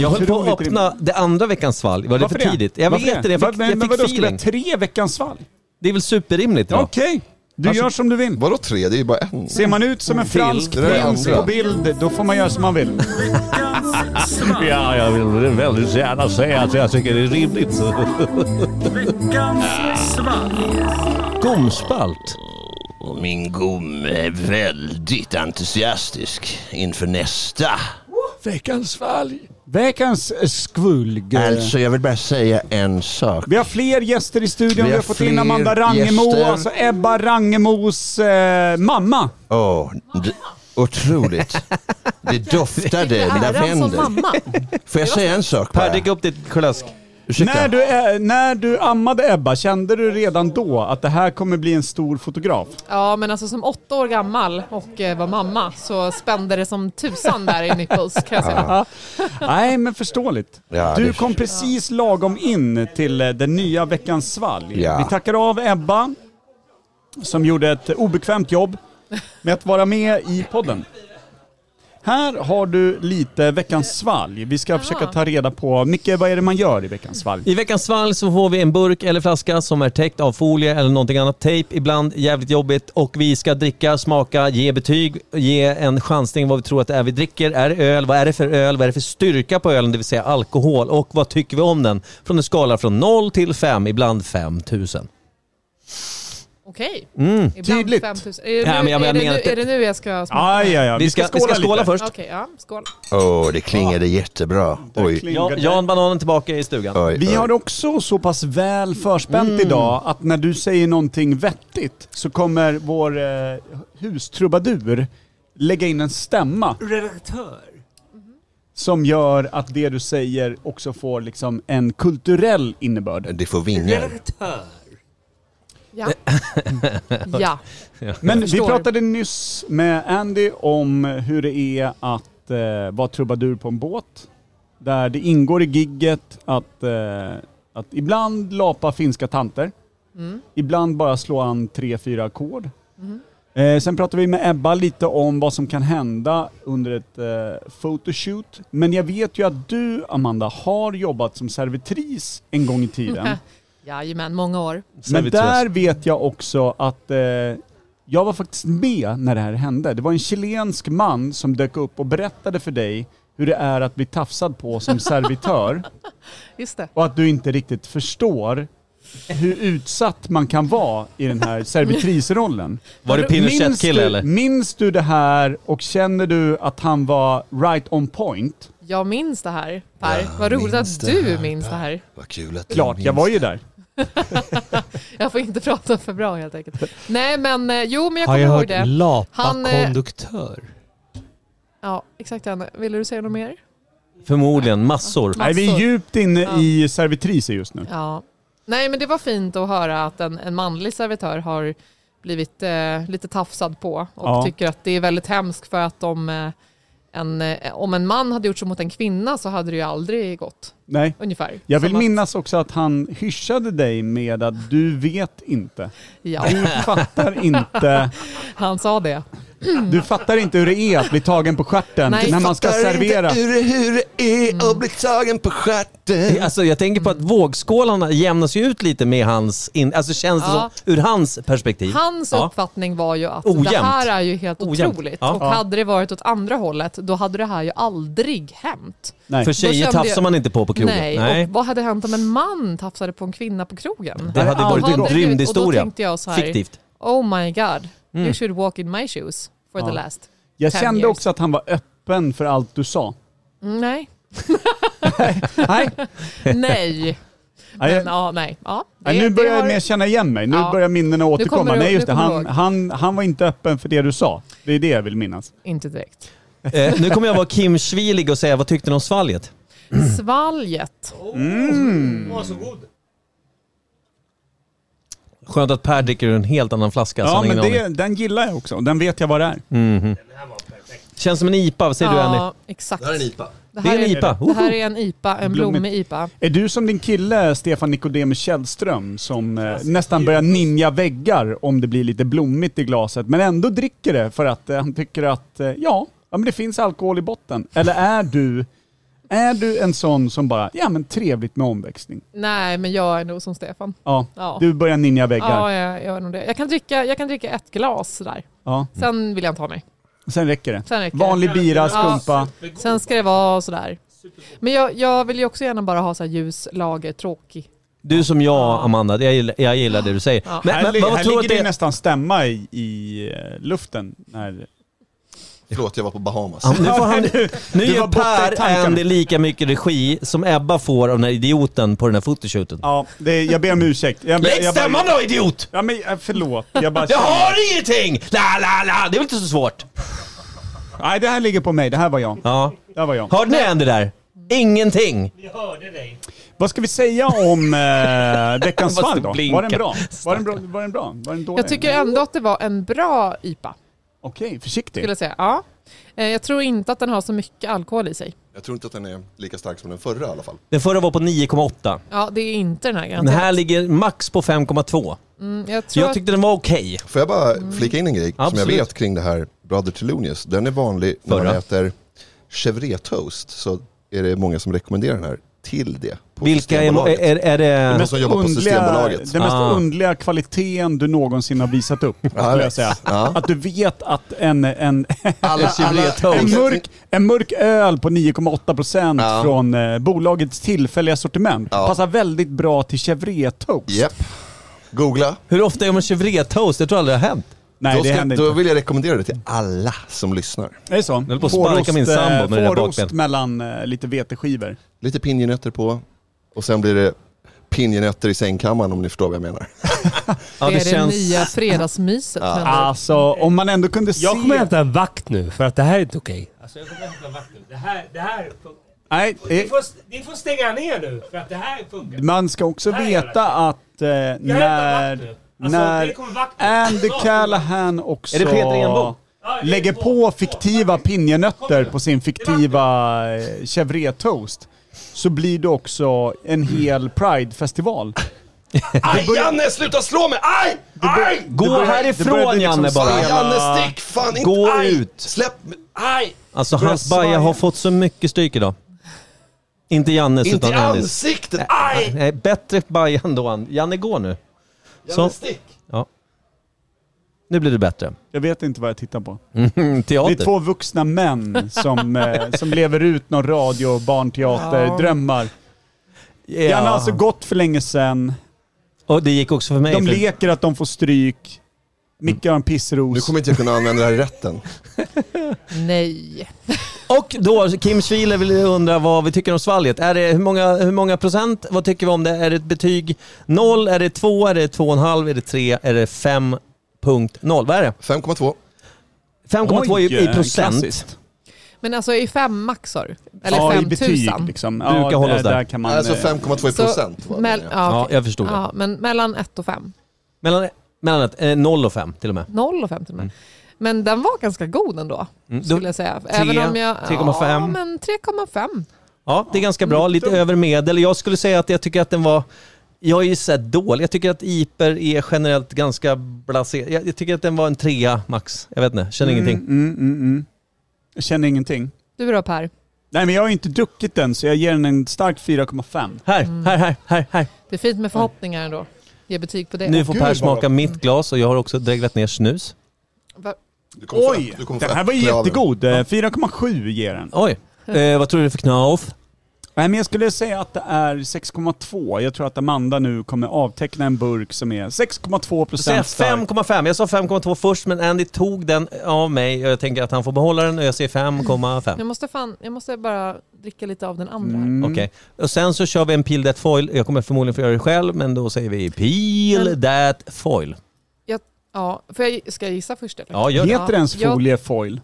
S1: Jag höll på att
S2: Otroligt
S1: öppna det andra veckans svalg. Var det för
S2: Varför
S1: tidigt? Jag
S2: Varför
S1: vet inte, jag
S2: Va-
S1: fick,
S2: men
S1: jag fick
S2: vadå, skulle
S1: feeling.
S2: jag tre veckans svalg?
S1: Det är väl superrimligt då?
S2: Okej, du
S1: Alltså-
S2: gör som du vill.
S4: Vadå tre? Det är ju bara en.
S2: Ser man ut som en fransk
S4: Det där är
S2: prins
S4: andra.
S2: på bild, då får man göra som man vill.
S6: Ja, jag vill väldigt gärna säga att jag tycker det är rimligt.
S1: Gomspalt.
S10: Och min gom är väldigt entusiastisk inför nästa.
S6: Veckans svalg.
S2: Veckans skvulg.
S4: Alltså, jag vill bara säga en sak.
S2: Vi har fler gäster i studion. Vi
S4: Vi
S2: har,
S4: har
S2: fått
S4: fler
S2: in Amanda Rangemo,
S4: gäster.
S2: alltså Ebba Rangemos eh, mamma.
S4: Åh, d- <laughs> otroligt. Det doftade i
S10: Äran som
S4: lavendel.
S10: mamma.
S4: Får jag säga en sak
S1: Per,
S4: bara?
S1: drick upp ditt klask.
S4: Ursäkta.
S2: När du, eh, när du ammade Ebba, kände du redan då att det här kommer bli en stor fotograf?
S10: <laughs> Ja, men alltså som åtta år gammal och eh, var mamma så spände det som tusan där i nipples kan jag säga.
S2: Nej, men förståeligt.
S4: Ja,
S2: du
S4: det-
S2: kom precis lagom in till eh, den nya veckans svalg.
S4: Ja.
S2: Vi tackar av Ebba, som gjorde ett obekvämt jobb med att vara med i podden. Här har du lite veckans svalg. Vi ska försöka ta reda på, Micke, vad är det man gör i veckans svalg?
S1: I veckans svalg så får vi en burk eller flaska som är täckt av folie eller någonting annat. Tejp, ibland jävligt jobbigt. Och vi ska dricka, smaka, ge betyg, ge en chansning vad vi tror att det är vi dricker. Är det öl? Vad är det för öl? Vad är det för styrka på ölen, det vill säga alkohol? Och vad tycker vi om den? Från en skala från 0 till 5, ibland 5000.
S10: Okej.
S1: Mm.
S10: Ibland
S2: Tydligt.
S10: 5000. Är, det
S1: Ja, men
S10: nu-
S1: jag
S10: är, det
S1: menar
S10: nu-
S1: att det-
S10: är det nu jag ska smaka?
S2: Aj, aj, aj.
S1: Vi ska, vi ska skåla först.
S10: Okej, ja. Skål.
S4: Åh, det klingade jättebra. Oj.
S1: Ja, Jan Bananen tillbaka i stugan.
S4: Oj,
S2: Vi
S4: oj.
S2: har också så pass väl förspänt idag att när du säger någonting vettigt så kommer vår eh, hustrubadur lägga in en stämma
S3: Redaktör.
S2: som gör att det du säger också får liksom en kulturell innebörd.
S4: Det får vingar.
S3: Redaktör.
S10: Ja. ja.
S2: Men vi
S10: Förstår.
S2: pratade nyss med Andy om hur det är att eh, vara trubadur på en båt. Där det ingår i gigget att, eh, att ibland lapa finska tanter.
S10: Mm.
S2: Ibland bara slå an tre, fyra ackord. Eh, sen pratade vi med Ebba lite om vad som kan hända under ett eh, photoshoot. Men jag vet ju att du, Amanda, har jobbat som servitris en gång i tiden.
S10: <laughs> Jajamän, många år.
S2: Men
S1: Servitös.
S2: där vet jag också att eh, jag var faktiskt med när det här hände. Det var en chilensk man som dök upp och berättade för dig hur det är att bli tafsad
S1: <laughs>
S2: på som servitör
S10: Just det.
S2: och att du inte riktigt förstår hur utsatt man kan vara i den här servitrisrollen.
S1: Var det
S2: Minns du,
S1: Pinochet-kille eller?
S2: minns du det här och känner du att han var right on point?
S10: Jag minns det här, Per.
S4: Jag
S10: Vad roligt
S4: minns
S10: att du
S4: det här,
S10: minns det här.
S4: Vad kul att du
S2: Klart, jag
S4: minns
S2: var ju där.
S10: Jag får inte <laughs> prata för bra helt enkelt. Nej, men eh, jo, men jag kommer ihåg det. Han, eh,
S11: konduktör?
S10: Ja, exakt. Anna. Ville du säga något mer?
S1: Förmodligen, massor.
S10: Ja.
S2: Nej, vi är
S10: Massor.
S2: djupt inne
S10: Ja.
S2: i servitriser just nu.
S10: Ja. Nej, men det var fint att höra att en, en manlig servitör har blivit eh, lite tafsad på och
S2: Ja.
S10: tycker att det är väldigt hemskt för att om, eh, en, eh, om en man hade gjort så mot en kvinna så hade det ju aldrig gått,
S2: Nej.
S10: ungefär.
S2: Jag vill
S10: Som att-
S2: minnas också att han hyschade dig med att du vet inte.
S10: Ja,
S2: Du fattar inte,
S10: han sa det.
S2: du fattar inte hur det är att bli tagen på stjärten
S10: Nej.
S2: när man ska
S4: Fattar inte
S2: servera.
S4: Hur, hur det är att bli tagen på stjärten.
S1: Alltså jag tänker på att
S10: Mm.
S1: vågskålarna jämnas ju ut lite med hans, in, alltså känns det
S10: Ja.
S1: som, ur hans perspektiv.
S10: Hans
S1: Ja.
S10: uppfattning var ju att
S1: Ojämnt.
S10: det här är ju helt
S1: Ojämnt.
S10: otroligt.
S1: Ja.
S10: Och
S2: Ja.
S10: hade det varit åt andra hållet, då hade det här ju aldrig hänt.
S2: Nej.
S1: För tjejer
S10: kände
S1: tafsar
S10: jag-
S1: man inte på på krogen.
S10: Nej. Och vad hade hänt om en man tafsade på en kvinna på krogen?
S1: Det hade
S2: Ja,
S1: varit
S2: det
S1: en
S2: går.
S10: Och då
S1: rymdhistoria.
S10: tänkte jag så här,
S1: Fiktivt.
S10: oh my god, you should walk in my shoes for
S2: Ja.
S10: the last.
S2: Jag
S10: Ten
S2: kände
S10: years.
S2: också att han var öppen för allt du sa.
S10: Mm, Nej,
S2: Nej,
S10: <laughs> nej.
S2: Nej, jag-
S10: Men, ja, nej. Ja, det-
S2: Nej, nu
S10: det
S2: börjar jag
S10: har-
S2: mer känna igen mig. Nu
S10: Ja.
S2: börjar minnena återkomma.
S10: kommer du-
S2: Nej just det,
S10: nu kommer
S2: han,
S10: du ihåg.
S2: han, han var inte öppen för det du sa. Det är det jag vill minnas.
S10: Inte direkt.
S1: Eh, nu kommer jag vara Kim Schwilig och säga vad tyckte ni om svalget?
S10: Svalget.
S3: Åh, så god.
S1: Skönt att Per dricker ur en helt annan flaska. så
S2: Ja
S1: han har
S2: men
S1: ingen
S2: det,
S1: aning.
S2: den gillar jag också. Den vet jag vad det är.
S1: Känns som en IPA, vad säger du Annie?
S10: Ja, exakt. Det
S1: Det
S10: här
S1: är en
S10: är,
S1: IPA.
S10: det här
S1: Woho!
S10: är en IPA, en
S2: Blommigt.
S10: blommig IPA.
S2: Är du som din kille Stefan Nicodemus Källström som eh, nästan börjar ninja väggar om det blir lite blommigt i glaset men ändå dricker det för att eh, han tycker att eh, ja, ja men det finns alkohol i botten. Eller är du, är du en sån som bara, ja men trevligt med omväxling.
S10: Nej, men jag är nog som Stefan.
S2: Ja,
S10: Ja.
S2: du börjar ninja väggar.
S10: Ja, jag gör nog det. Jag kan dricka, jag kan dricka ett glas där.
S2: Ja,
S10: Sen vill jag inte ha mer.
S2: sen räcker det.
S10: Sen räcker det.
S2: Vanlig bira, skumpa.
S10: Sen ska det vara sådär. Men jag, jag vill ju också gärna bara ha så här ljus, lager, tråkig.
S1: Du som jag Amanda, jag gillar, jag gillar det du säger.
S10: Ja.
S1: Men,
S2: här
S1: men
S2: li-
S1: vad
S2: här
S1: tror du
S2: ligger
S1: att
S2: det
S1: det...
S2: nästan stämma i, i eh, luften när
S4: Förlåt, jag var på Bahamas.
S1: Ja, men nu får han, nu
S2: <laughs> du var
S1: gör
S2: borta i
S1: Per
S2: tankarna.
S1: Andy lika mycket regi som Ebba får av den här idioten på den här fotoshooten.
S2: Ja, det är, jag ber om ursäkt. Jag, ber- jag bara-
S1: då idiot!
S2: Ja men eh, förlåt, jag bara...
S1: ingenting! La, la, la! Det är väl inte så svårt?
S2: Nej det här ligger på mig, det här var jag.
S1: Ja.
S2: Det här var jag.
S1: Hörde ni Andy där? Ingenting!
S3: Vi hörde dig.
S2: Vad ska vi säga om eh, veckans
S1: Måste
S2: fall då?
S1: blinka.
S2: Var den bra? Var den bra? Var den bra? Var den dålig?
S10: Jag tycker ändå att det var en bra IPA,
S2: Okej,
S10: skulle
S2: försiktig.
S10: jag säga. Ja. Eh, Jag tror inte att den har så mycket alkohol i sig.
S4: Jag tror inte att den är lika stark som den förra i alla fall.
S1: Den förra var på 9,8.
S10: Ja, det är inte den här
S1: Den
S10: garanterat.
S1: här ligger max på 5,2.
S10: Mm, jag tror
S1: Jag tyckte den var okej.
S4: Får jag bara flika in en grej som jag
S1: Absolut.
S4: vet kring det här Brother Thelonious. Den är vanlig när man
S1: Förra.
S4: äter chevret toast så är det många som rekommenderar den här till det. På
S1: Vilka är,
S4: Systembolaget.
S1: är, är det...
S4: som jobbar på Systembolaget.
S2: Den mest
S1: Ah.
S2: underliga kvaliteten du någonsin har visat upp, skulle jag säga.
S4: Ja.
S2: Att du vet att en, en, <laughs>
S4: Alla, alla,
S2: en, mörk, en mörk öl på 9,8%
S4: Ja.
S2: från eh, bolagets tillfälliga sortiment
S4: Ja.
S2: passar väldigt bra till Chevret Toast.
S4: Japp. Googla.
S1: Hur ofta gör man chevret-toast? Jag tror aldrig det har hänt.
S2: Nej,
S4: då,
S2: det
S4: ska,
S2: händer
S4: då
S2: inte.
S4: vill jag rekommendera det till alla som lyssnar.
S2: Är det så? eh,
S1: höll på att sparka min sambo med det där
S2: Fårost
S1: bakbenet.
S2: mellan eh, lite veteskivor.
S4: Lite pinjenötter på och sen blir det pinjenötter i sängkammaren om ni förstår vad jag menar.
S1: Ja,
S10: det är det nya fredagsmyset. men-
S2: Alltså, om man ändå kunde se...
S3: Jag kommer hämta en vakt nu, för att det här är inte okej. Alltså jag kommer hämta en vakt nu. Det här, det här funkar.
S2: Nej, eh,
S3: Ni får, ni får stänga ner nu, för att det här funkar.
S2: man ska också
S3: Nej, jag
S2: veta att eh,
S3: Jag hämtar vakt
S2: när,
S3: nu. Alltså,
S2: när
S3: det kommer vakt nu.
S2: Andy
S3: Snart.
S2: Callahan också
S1: Är det Peter Enbo?
S3: Ja, det är
S2: lägger
S3: två,
S2: på
S3: två.
S2: fiktiva pinjenötter på sin fiktiva eh, chevret toast så blir det också en hel Pride-festival.
S4: <laughs> Aj Janne, sluta slå mig! Aj! Aj!
S1: Gå
S2: Det börjar- det började
S1: härifrån
S2: liksom
S1: Janne bara!
S4: Aj, Janne, stick! Fan inte!
S1: Gå
S4: aj!
S1: ut.
S4: Släpp mig! Aj!
S1: Alltså
S2: Börjar
S1: hans baja
S2: svaja.
S1: har fått så mycket stryk idag. Inte Jannes
S4: Inte i
S1: utan Andys.
S4: ansiktet! Aj!
S1: Nej, bättre baja ändå. Ann- Janne, gå nu. Så,
S4: Janne, stick!
S1: nu blir det bättre.
S2: Jag vet inte vad jag tittar på.
S1: Mm,
S2: Det
S1: teater.
S2: är två vuxna män som, eh, som lever ut någon radio och barnteaterdrömmar.
S1: Ja.
S2: Gärna alltså gått för länge sedan.
S1: Och det gick också för mig.
S2: De
S1: för-
S2: leker att de får stryk. Micke har en pissros.
S4: Nu kommer inte jag kunna använda det här i rätten.
S10: Nej.
S1: Och då, Kim Schwiler vill undra vad vi tycker om svalget. Är det, hur, många, hur många procent? Vad tycker vi om det? Är det ett betyg 0? Är det 2? Är det 2,5? Är det 3? Är det 5.0? Vad är det?
S4: 5,2.
S1: 5,2 i, i
S2: Oj,
S1: procent.
S2: klassiskt.
S10: Men alltså i fem maxor? Eller
S2: ja, i
S10: 5000?
S2: betyg liksom.
S1: Brukar hålla oss
S2: där.
S1: där.
S2: kan man,
S4: Alltså
S2: eh,
S4: 5,2 i
S10: Så,
S4: procent. var det.
S10: Mell- ja,
S1: Ja,
S10: okej.
S1: jag förstod det.
S10: ja, men mellan 1 och 5.
S1: Mellan, mellan ett, eh, 0 och 5 till och med.
S10: 0 och 5 till och med.
S2: Mm.
S10: Men den var ganska god ändå,
S1: Mm, då-
S10: skulle jag säga. Även om jag...
S1: 3,5.
S10: Ja, men 3,5.
S1: Ja, det är ganska bra. Lite över medel. Jag skulle säga att jag tycker att den var... Jag är ju så här dålig. Jag tycker att Iper är generellt ganska blasé. Jag, jag tycker att den var en trea max. Jag vet inte, känner ingenting.
S2: Mm, mm, mm, mm. Jag känner ingenting.
S10: Du då Per?
S2: Nej men jag har inte druckit den så jag ger den en stark 4,5.
S1: Här, här, här, här, här.
S10: Det är fint med förhoppningar ändå. Ge betyg på det.
S1: Nu får
S4: gud,
S1: Per
S4: vad-
S1: smaka mitt glas och jag har också dreglat ner snus.
S10: Va-
S4: Du kommer få-
S2: Oj!
S4: du kommer få
S2: Den här var
S4: äpple av den.
S2: jättegod. Eh, 4,7 ger den.
S1: Oj, eh, vad tror du för knauf?
S2: Nej men jag skulle säga att det är 6,2. Jag tror att Amanda nu kommer avteckna en burk som är 6,2
S1: Då säger jag
S2: procent stark.
S1: 5,5. Jag sa 5,2 först men Andy tog den av mig och jag tänker att han får behålla den och jag säger 5,5.
S10: Jag måste, fan, jag måste bara dricka lite av den andra. här.
S2: Mm.
S1: Okej, och sen så kör vi en peel that foil. Jag kommer förmodligen få göra det själv men då säger vi peel
S10: Men-
S1: that foil.
S10: Ja, för jag, ska jag gissa först eller?
S1: Ja, gör det.
S2: Heter det ens
S10: Ja.
S2: foliefoil?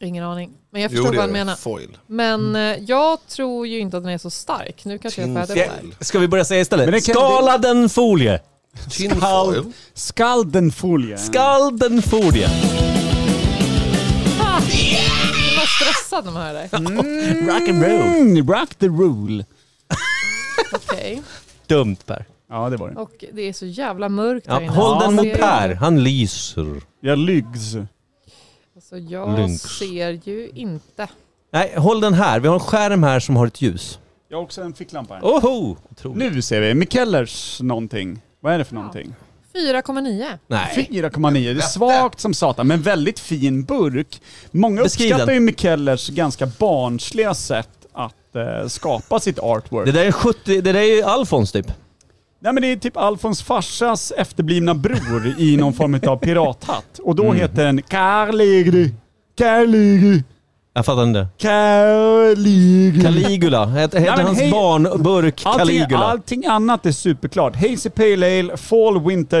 S10: Ingen aning. Men jag
S4: Jo,
S10: förstår
S4: det
S10: vad han
S4: är det.
S10: menar.
S4: Foil.
S10: Men eh, jag tror ju inte att den är så stark. Nu kanske jag får äta upp det här.
S4: Tinfoil.
S1: Ska vi börja säga
S2: Men det
S1: istället?
S2: kan-
S1: Skala den folie!
S4: Tinfoil.
S2: Skaldenfolie.
S1: Skal den folie!
S10: Jag var stressad när man hör det.
S1: Mm. Rock and roll!
S2: Mm, rock the rule.
S10: Okej.
S1: Dumt Per.
S2: Ja det var det.
S10: Och det är så jävla mörkt
S1: Ja,
S10: här inne.
S1: håll den
S10: Jag
S1: mot
S10: ser-
S1: Per, han lyser.
S2: Jag lygs.
S10: Alltså jag
S1: Lynx.
S10: ser ju inte.
S1: Nej, håll den här. Vi har en skärm här som har ett ljus.
S2: Jag har också en ficklampa här.
S1: Oho! Otroligt.
S2: Nu ser vi. Mikellers någonting. Vad är det för någonting?
S10: 4,9.
S1: Nej.
S2: 4,9. Det är svagt som satan, men väldigt fin burk. Många
S1: Beskriv
S2: uppskattar
S1: den.
S2: ju Mikellers ganska barnsliga sätt att eh, skapa sitt artwork.
S1: Det där är 70, det där är ju Alfons typ.
S2: Nej men det är typ Alfons farsas
S1: Mm.
S2: efterblivna bror i någon form av pirathatt. Och då heter den Karlegry. Caligula.
S1: Jag fattar inte. <laughs>
S2: Caligula.
S1: Caligula. Hette
S2: Nej,
S1: hette
S2: men
S1: hans
S2: hej-
S1: barnburk
S2: Allting,
S1: Caligula?
S2: allting annat är superklart. Hazy Pale Ale, Fall Winter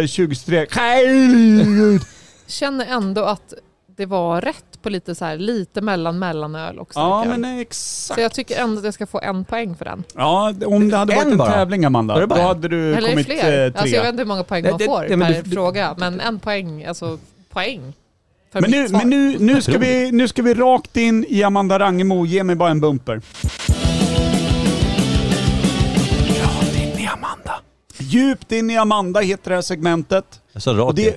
S1: <laughs>
S2: 2023. Caligula.
S10: Känner ändå att det var rätt på lite så här, lite mellan mellanöl och
S2: Ja,
S10: starköl.
S2: men exakt.
S10: Så jag tycker ändå att jag ska få en poäng för den.
S2: Ja, om det hade
S1: En
S2: varit en
S1: bara?
S2: tävling Amanda,
S1: Var det
S2: då
S1: bara en?
S2: hade du
S10: Eller
S2: kommit eh,
S10: fler.
S2: tre.
S10: Alltså, jag vet inte hur många poäng
S1: Nej,
S10: man
S1: det-
S10: får
S1: ja, men
S10: per
S1: du-
S10: fråga, men en poäng, alltså poäng. För
S2: men
S10: mitt
S2: nu,
S10: svar.
S2: men nu, nu, ska vi, nu ska vi rakt in i Amanda Rangemo. Ge mig bara en bumper. Rakt in i Amanda. Djupt in i Amanda heter det här segmentet.
S1: Jag sa rakt
S2: det,
S1: in.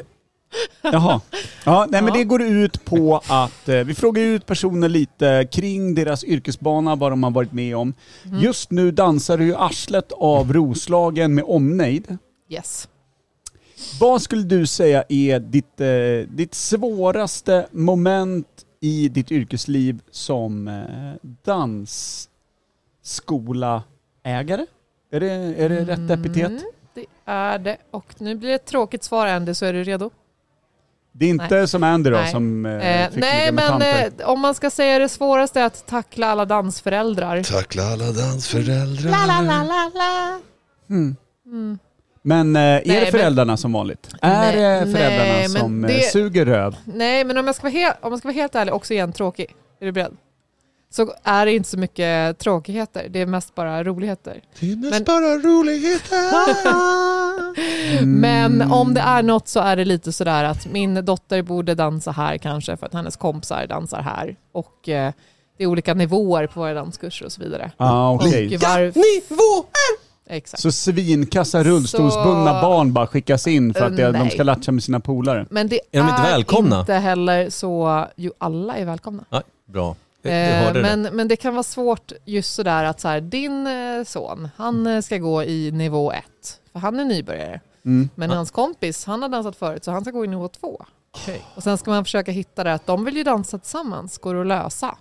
S2: <laughs> Jaha. Ja, nej, men
S10: Ja.
S2: det går ut på att eh, vi frågar ut personer lite kring deras yrkesbana, vad de har varit med om.
S10: Mm.
S2: Just nu dansar du ju arslet av Roslagen med omnejd.
S10: Yes.
S2: Vad skulle du säga är ditt, eh, ditt svåraste moment i ditt yrkesliv som eh, dansskolaaägare? Är det, är det rätt epitet?
S10: Mm, det är det. Och nu blir det ett tråkigt svar Andy, så är du redo?
S2: Det är inte som Andy då
S10: Nej.
S2: som eh,
S10: Eh,
S2: fick
S10: nej,
S2: ligga med
S10: men
S2: tanter.
S10: eh, om man ska säga det svåraste är att tackla alla dansföräldrar.
S4: Tackla alla dansföräldrar.
S2: Men eh, är
S10: Nej,
S2: det föräldrarna som vanligt? Är
S10: Nej,
S2: det föräldrarna
S10: nej, men
S2: som eh,
S10: det-
S2: suger röv?
S10: Nej, men om jag ska vara helt, om jag ska vara helt ärlig, också igen tråkig. Är du beredd? Så är det inte så mycket tråkigheter, det är mest bara roligheter.
S4: Det är mest
S10: Men-
S4: bara roligheter.
S2: Mm.
S10: Men om det är något så är det lite sådär att min dotter borde dansa här kanske för att hennes kompisar dansar här. Och eh, det är olika nivåer på våra danskurser och så vidare.
S2: Ah,
S10: Och
S2: okej.
S10: varv-
S4: Nivå!
S10: Exakt.
S2: Så svinkassa rullstolsbundna
S10: Så-
S2: barn bara skickas in för att det, de
S10: Nej.
S2: ska latcha med sina polare?
S10: Men det
S1: Är
S10: är,
S1: de inte välkomna?
S10: inte heller så, jo alla är välkomna.
S1: Nej, bra. Du
S10: Eh,
S1: hörde
S10: men, men det kan vara svårt just sådär att så här, din eh, son, han eh, ska gå i nivå ett, för han är nybörjare.
S2: Mm.
S10: Men
S1: Ja.
S10: hans kompis, han har dansat förut, så han ska gå i nivå två. Och sen ska man försöka hitta det att de vill ju dansa tillsammans, går det att lösa?
S1: det.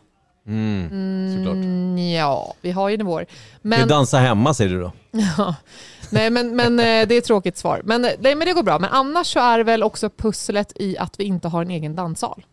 S1: Mm. Såklart.
S10: Mm, ja, vi har ju nivåer.
S1: Ska vi
S10: Men,
S1: dansa hemma säger du då?
S10: <laughs> ja, nej, men, men eh, det är ett tråkigt svar. Men, eh, nej, men det går bra. Men annars så är det väl också pusslet i att vi inte har en egen danssal.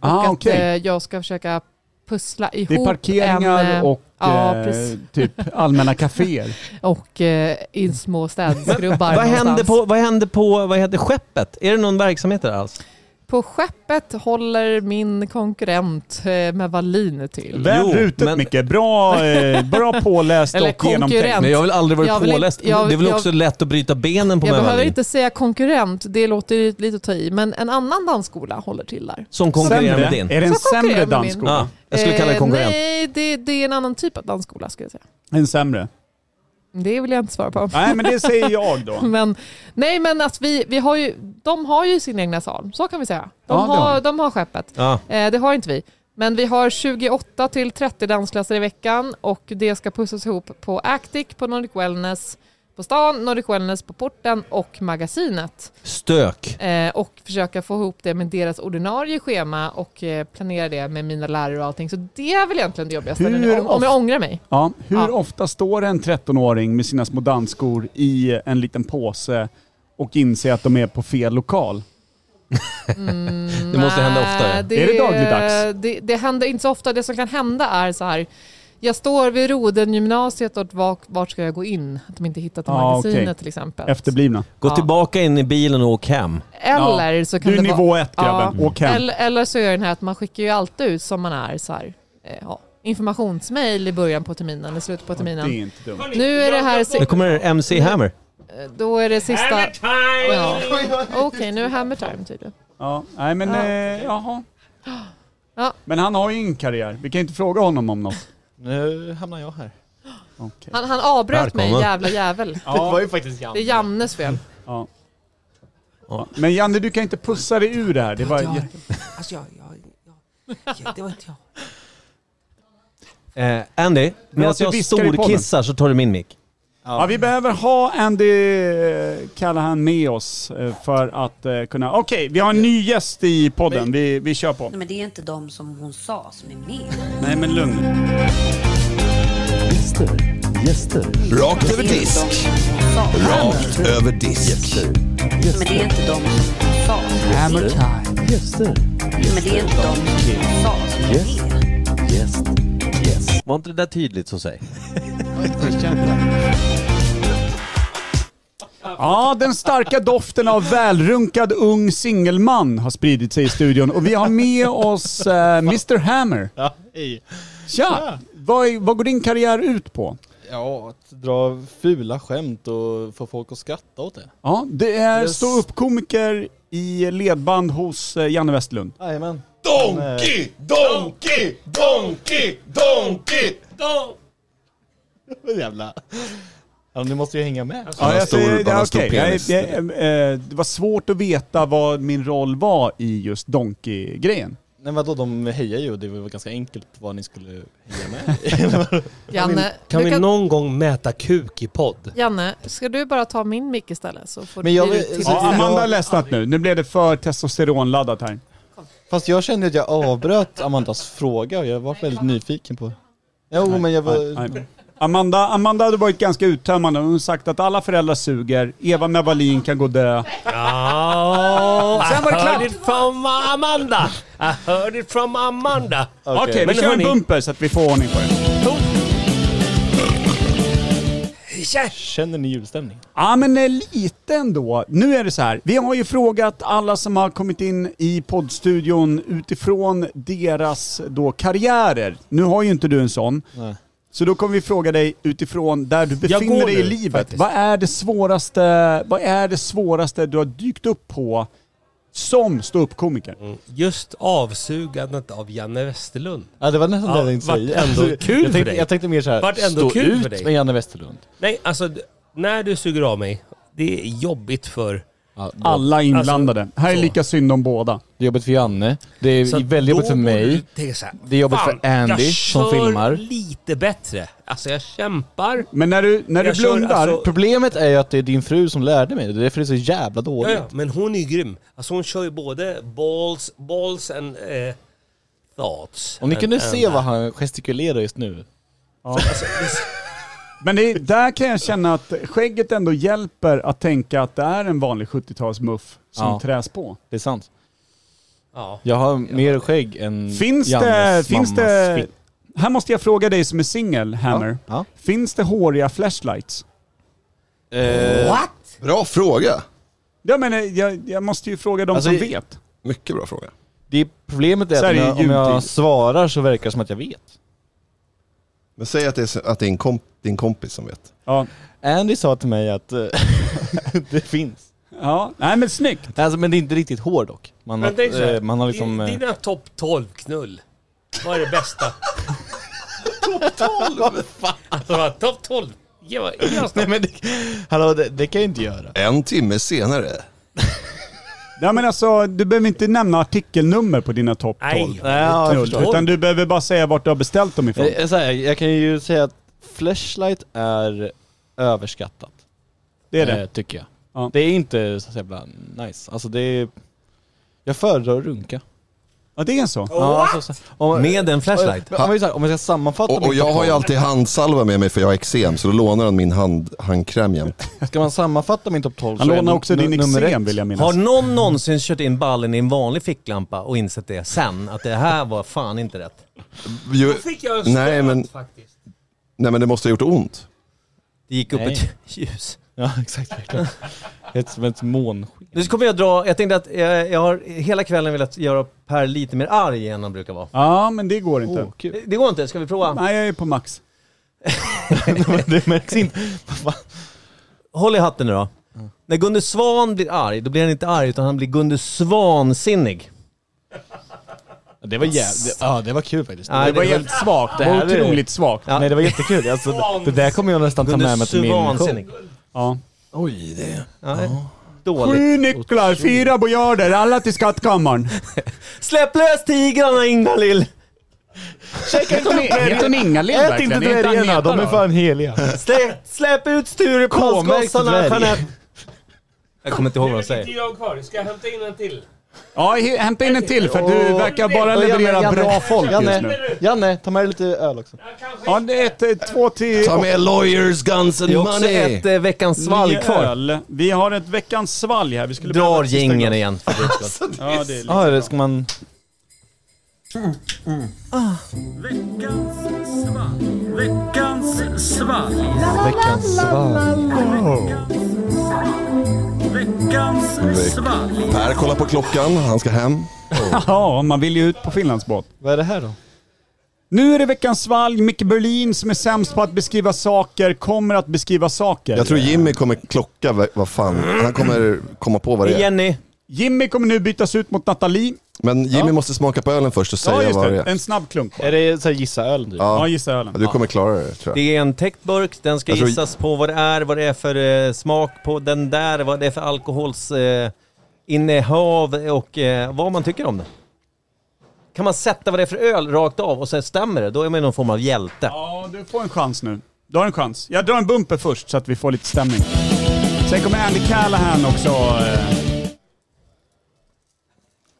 S10: och
S2: Ah,
S10: att
S2: okej.
S10: eh, jag ska försöka pussla ihop
S2: Det är
S10: en,
S2: parkeringar
S10: eh,
S2: och
S10: ja,
S2: eh,
S10: precis. <laughs>
S2: typ allmänna kaféer.
S10: och eh, i små städskrubbar
S1: Vad hände,
S10: någonstans.
S1: på, vad hände på, vad hette skeppet? Är det någon verksamhet där alls?
S10: På skeppet håller min konkurrent eh, med Wallin till.
S2: Väl
S1: Jo,
S2: rutet
S1: men-
S2: Micke, bra, eh, bra påläst
S10: Eller
S2: och genomtänkt.
S10: konkurrent.
S1: Men jag har väl aldrig varit
S10: Jag vill inte-
S1: påläst?
S10: jag-
S1: det är väl
S10: jag-
S1: också lätt att bryta benen på
S10: Jag
S1: mig?
S10: behöver
S1: Wallin?
S10: inte säga konkurrent, det låter ju lite att ta i, men en annan dansskola håller till där.
S1: Som konkurrerar med
S2: Sämre?
S1: din?
S2: Är det en
S10: Som konkurrerar
S2: sämre
S10: med min.
S2: dansskola?
S1: Ja, jag skulle kalla det
S10: Eh,
S1: konkurrent.
S10: Nej, det, det är en annan typ av dansskola skulle jag säga.
S2: En sämre?
S10: Det vill jag inte svara på.
S2: Nej, men det säger jag
S10: <laughs>
S2: då.
S10: Men, nej men att vi, vi har ju, de har ju sin egna sal, så kan vi säga. De,
S2: Ja, det har
S10: har,
S2: de.
S10: de har skeppet.
S1: Ja.
S10: Eh, det har inte vi. Men vi har 28 till 30 dansklasser i veckan och det ska pussas ihop på Actic, på Nordic Wellness på stan, Nordic Wellness på porten och magasinet.
S1: Stök.
S10: Eh, och försöka få ihop det med deras ordinarie schema och eh, planera det med mina lärare och allting. Så det är väl egentligen det jobbigaste,
S2: Hur
S10: nu, om, om jag ångrar mig.
S2: Ja, hur
S10: Ja.
S2: ofta står en 13-åring med sina små dansskor i en liten påse och inser att de är på fel lokal?
S1: Det måste hända oftare.
S10: Mm. Nej,
S2: Är det dagligdags?
S10: Det, det händer inte så ofta. Det som kan hända är så här. Jag står vid Rodengymnasiet och vart, vart ska jag gå in? Att de inte hittat till
S2: Ah,
S10: magasinet
S2: okej.
S10: till exempel.
S2: Efterblivna.
S1: Gå
S10: Ja.
S1: tillbaka in i bilen och åk hem.
S10: Eller så kan
S2: Du är
S10: det vara...
S2: nivå ett grabben,
S10: Ja.
S2: åk hem.
S10: Eller, eller så gör den här att man skickar ju alltid ut som man är så här. eh, Ja, informationsmail i början på terminen, i slutet på
S2: Det
S10: terminen.
S2: är inte dumt.
S10: Nu är det här si-
S1: Nu kommer MC Hammer.
S10: Då är det sista...
S3: Hammer time!
S10: Ja. Okej, nu är Hammer time tydligen.
S2: Ja, nej men
S10: Ja.
S2: eh, jaha.
S10: Ja.
S2: Men han har ju ingen karriär. Vi kan inte fråga honom om något.
S11: Nu hamnar jag här.
S2: Okej.
S10: Han, han avbröt mig,
S1: Välkommen.
S10: jävla
S11: <laughs>
S10: jävel.
S11: Det
S2: Ja,
S11: var ju faktiskt
S10: Det är
S11: Janne.
S10: Jannes fel.
S2: ja.
S1: Ja.
S2: Men Janne, du kan inte pussa dig ur det här. Det var
S8: Ja.
S2: jätte...
S8: Alltså jag, jag, jag, jag, det var inte jag.
S1: Eh, Andy, medan
S2: att du
S1: jag
S2: viskar i
S1: storkissar så tar du min mick.
S2: Ja, vi behöver ha Andy eh, Callahan med oss eh, för att eh, kunna... Okej, vi har en ny gäst i podden. Vi, vi kör på.
S8: Nej, men det är inte de som hon sa som är med.
S2: Nej, men lugn.
S6: Gäster, gäster,
S4: Rakt över
S8: Det är inte
S4: disk.
S8: de som hon sa.
S4: Rakt över disk.
S8: Men det är inte de som hon sa.
S6: gäster,
S8: Men det är inte de som hon sa som är
S11: Yes.
S8: med.
S11: Yes. Yes. Var inte det där tydligt så säg?
S2: Ja, den starka doften av välrunkad ung singelman har spridit sig i studion och vi har med oss eh, Mr Hammer.
S11: Ja, hej.
S2: Tja! Vad, är- vad går din karriär ut på?
S11: Ja, att dra fula skämt och få folk att skratta åt det.
S2: Ja, det är
S11: Yes.
S2: stå komiker i ledband hos eh, Janne Westlund.
S11: Jajamän. eh,
S6: Donkey, donkey, donkey, donkey, donkey.
S11: <laughs> Jävla... Ja, nu måste jag hänga med.
S2: säger- ja, okej. Jag- jag- eh, det var svårt att veta vad min roll var i just Donkey-grejen.
S11: Nej vadå, de hejar ju och det var ganska enkelt vad ni skulle heja
S6: <laughs>
S11: med.
S10: Janne,
S3: Kan
S10: du
S3: vi
S10: kan-
S3: någon gång mäta kuk i podd?
S10: Janne, ska du bara ta min mick istället så får
S11: Men jag
S10: du
S11: vill-
S10: till-
S2: Ja, Amanda har ledsnat nu. Nu blev det för testosteronladdat här.
S11: Fast jag kände att jag avbröt Amandas fråga och jag var väldigt nyfiken på... Jo men jag var...
S2: Nej, nej. Eh, Amanda, Amanda hade varit ganska uttömmande. Hon har sagt att alla föräldrar suger, Eva med Wallin kan gå dö.
S3: Ja,
S2: Sen var det klart.
S3: Ah, I heard it from Amanda. I heard it from Amanda.
S2: Okej, vi kör en bumper så att vi får ordning på det.
S11: Känner ni julstämning?
S2: Ja men eh, lite ändå. Nu är det så här. Vi har ju frågat alla som har kommit in i poddstudion utifrån deras då karriärer. Nu har ju inte du en sån.
S11: Nej.
S2: Så då kommer vi fråga dig utifrån där du
S3: går
S2: befinner dig i
S3: nu,
S2: livet.
S3: faktiskt.
S2: Vad är det svåraste, vad är det svåraste du har dykt upp på som ståuppkomiker?
S3: Just avsugandet av Janne Westerlund.
S11: Ja det var nästan
S3: Ja,
S11: det jag tänkte
S3: vart
S11: säga.
S3: ändå kul
S11: Alltså, jag
S3: för
S11: tänkte,
S3: dig.
S11: Jag tänkte mer såhär,
S3: Vart ändå
S11: stå
S3: kul
S11: ut
S3: för dig.
S11: med Janne Westerlund.
S3: Nej, alltså d- när du suger av mig, det är jobbigt för...
S2: Alla
S11: Alltså,
S2: inblandade. här är lika synd om båda.
S11: Det är jobbigt för Janne, det är
S3: Så att
S11: väldigt
S3: då
S11: jobbigt för
S3: borde du
S11: mig.
S3: tänka så här,
S11: Det är jobbigt
S3: "Fan,
S11: för Andy
S3: jag
S11: som
S3: kör
S11: filmar."
S3: lite bättre. Alltså jag kämpar.
S2: Men när du, när du
S3: Jag kör,
S2: blundar...
S3: alltså-
S11: Problemet är ju att det är din fru som lärde mig det, det är därför det är så jävla
S3: Ja,
S11: dåligt.
S3: ja, men hon är ju grym. Alltså hon kör ju både balls, balls and eh, thoughts.
S11: Om ni
S3: And-
S11: kunde
S3: and alltså,
S11: se vad han gestikulerar just nu.
S2: Men det, är- där kan jag känna att skägget ändå hjälper att tänka att det är en vanlig 70-talsmuff som
S11: Ja.
S2: träs på.
S11: Det är sant. <laughs>
S3: Ja.
S11: Jag har mer skägg än
S2: Finns
S11: Mm. Jannes
S2: det...
S11: mammas
S2: Finns det
S11: fitt.
S2: här måste jag fråga dig som är singel, Hammer.
S11: Ja.
S2: Finns det håriga flashlights?
S1: Eh,
S8: What?
S4: Bra fråga.
S2: Ja, men eh, jag, jag måste ju fråga de
S11: Alltså,
S2: som
S11: i-
S2: vet.
S4: Mycket bra fråga.
S11: Det är problemet är
S2: Så
S11: att
S2: här
S11: om
S2: är
S11: jag,
S2: ju
S11: om jag
S2: jultid.
S11: svarar så verkar det som att jag vet.
S4: Men säg att det är, så- att det är en komp- din kompis som vet.
S2: Ja.
S11: Andy sa till mig att eh, <laughs> det finns.
S2: ja. Nej men snyggt.
S11: Alltså, men det är inte riktigt hår dock. Man
S3: Men tänk så
S11: har,
S3: här,
S11: eh, man har liksom...
S3: din-
S11: eh,
S3: Dina topp 12 knull. Vad är det
S11: <laughs>
S3: bästa? <laughs> topp 12? Alltså, topp 12? Ge mig- ge oss
S11: Nej
S3: det.
S11: men det, hallå, det, det kan jag inte göra.
S4: En timme senare.
S2: Ja, men alltså, du behöver inte nämna artikelnummer på dina topp 12.
S3: Nej.
S11: Nej, ja, jag
S2: Knull,
S11: förstår.
S2: utan du behöver bara säga vart du har beställt dem ifrån.
S11: Eh, eh, så här, jag kan ju säga att flashlight är överskattat.
S2: Det är det.
S11: eh, Tycker jag.
S2: Ja.
S11: Det är inte så jävla nice. Alltså det är... Jag föredrar att runka.
S2: Ja, det är så.
S11: Ja, alltså, så- om,
S1: Med en flashlight?
S11: Om, vi så här, om jag ska sammanfatta
S4: Och, och
S11: min
S4: jag har ju
S11: topp
S4: alltid handsalva med mig för jag har eksem, så då lånar han min hand, handkräm jämt.
S11: 12, Ska man sammanfatta min topp 12
S2: Han
S11: så är
S2: lånar
S11: nu-
S2: också din
S11: nu- nummer
S2: eksem
S11: ett.
S2: vill jag minnas.
S1: Har någon någonsin kört in ballen i en vanlig ficklampa och insett det sen? Att det här var fan inte rätt.
S4: Ju,
S3: Då fick jag en
S4: nej, men,
S3: faktiskt.
S4: nej men det måste ha gjort ont.
S1: Det gick upp
S11: Nej.
S1: ett <laughs> ljus.
S11: <laughs> Ja exakt, verkligen. Ett, som ett månsken.
S1: Nu kommer jag dra, jag tänkte att eh, jag, jag har hela kvällen velat göra Per lite mer arg än han brukar vara.
S2: Ja, men det går inte.
S11: Åh, kul.
S1: Det går inte, ska vi prova?
S2: Nej, jag är på max.
S11: Men <laughs> det märks inte. Vad fan?
S1: Håll i hatten nu då.
S11: Mm.
S1: När Gunde Svan blir arg, då blir han inte arg utan han blir Gunde Svan-sinnig.
S11: Det var jävligt... Ja det var kul faktiskt.
S1: Nej,
S2: Det var helt svagt. Det här
S11: Det här är-
S2: var otroligt svagt.
S1: Ja.
S11: Nej det var jättekul. Alltså, det- det där kommer jag nästan ta med
S1: Gunde
S11: mig till min show.
S1: Svan-sinnig.
S2: Ja.
S4: Oj, det.
S1: Ja, Dåligt.
S2: Sju nycklar, fyra bojarder, alla till skattkammaren.
S1: Släpp lös tigrarna Ingalill!
S2: Heter hon Ingalill
S11: Ät inte dvärgarna, de är fan heliga.
S1: Släpp, släpp ut Stureplansgossarna
S11: dvärg.
S1: Jeanette! Jag kommer inte ihåg vad de säger.
S3: jag kvar. Ska jag hämta in en till?
S2: Ja, he- hämta in en till för du verkar bara
S11: Och Janne,
S2: leverera
S11: Janne,
S2: bra folk just
S11: Janne,
S2: nu.
S11: Janne, ta med dig lite öl också.
S2: Ja, det är ett, ett, två till...
S4: Ta med lawyers, guns and
S1: Det är också
S4: money.
S1: ett eh, veckans svalg kvar.
S2: Öl. Vi har ett veckans svalg här. Vi skulle behöva
S1: Drar
S2: ett sista
S1: gingen
S2: glas.
S1: igen för guds skull.
S2: Ja, det är lite
S11: Ja,
S2: bra.
S11: det ska man...
S8: Veckans svalg. Veckans svalg.
S11: Veckans svalg.
S8: Veckans svalg.
S4: Per kollar på klockan, han ska hem.
S2: Ja, man vill ju ut på Finlandsbåt.
S11: Vad är det här då?
S2: Nu är det veckans svalg. Micke Berlin som är sämst på att beskriva saker kommer att beskriva saker.
S4: Jag tror Jimmy kommer klocka, vad- vad fan, han kommer komma på vad det är.
S1: Jenny.
S2: Jimmy kommer nu bytas ut mot Nathalie.
S4: Men Jimmy måste smaka på ölen först och
S2: Ja,
S4: säga
S2: just
S4: vad det
S2: det.
S4: är.
S2: En snabb klunk.
S11: Är det så här gissa öl typ?
S4: Ja.
S2: Ja, gissa ölen.
S4: Ja, Du kommer klara det tror jag.
S1: Det är en täckt burk, den ska
S4: Jag tror-
S1: gissas på vad det är, vad det är för eh, smak på den där, vad det är för alkohols eh, innehav och eh, vad man tycker om det. Kan man sätta vad det är för öl rakt av och sen stämmer det, då är man någon form av hjälte.
S2: Ja, du får en chans nu. Du har en chans. Jag drar en bumper först så att vi får lite stämning. Sen kommer Andy Callahan också. eh,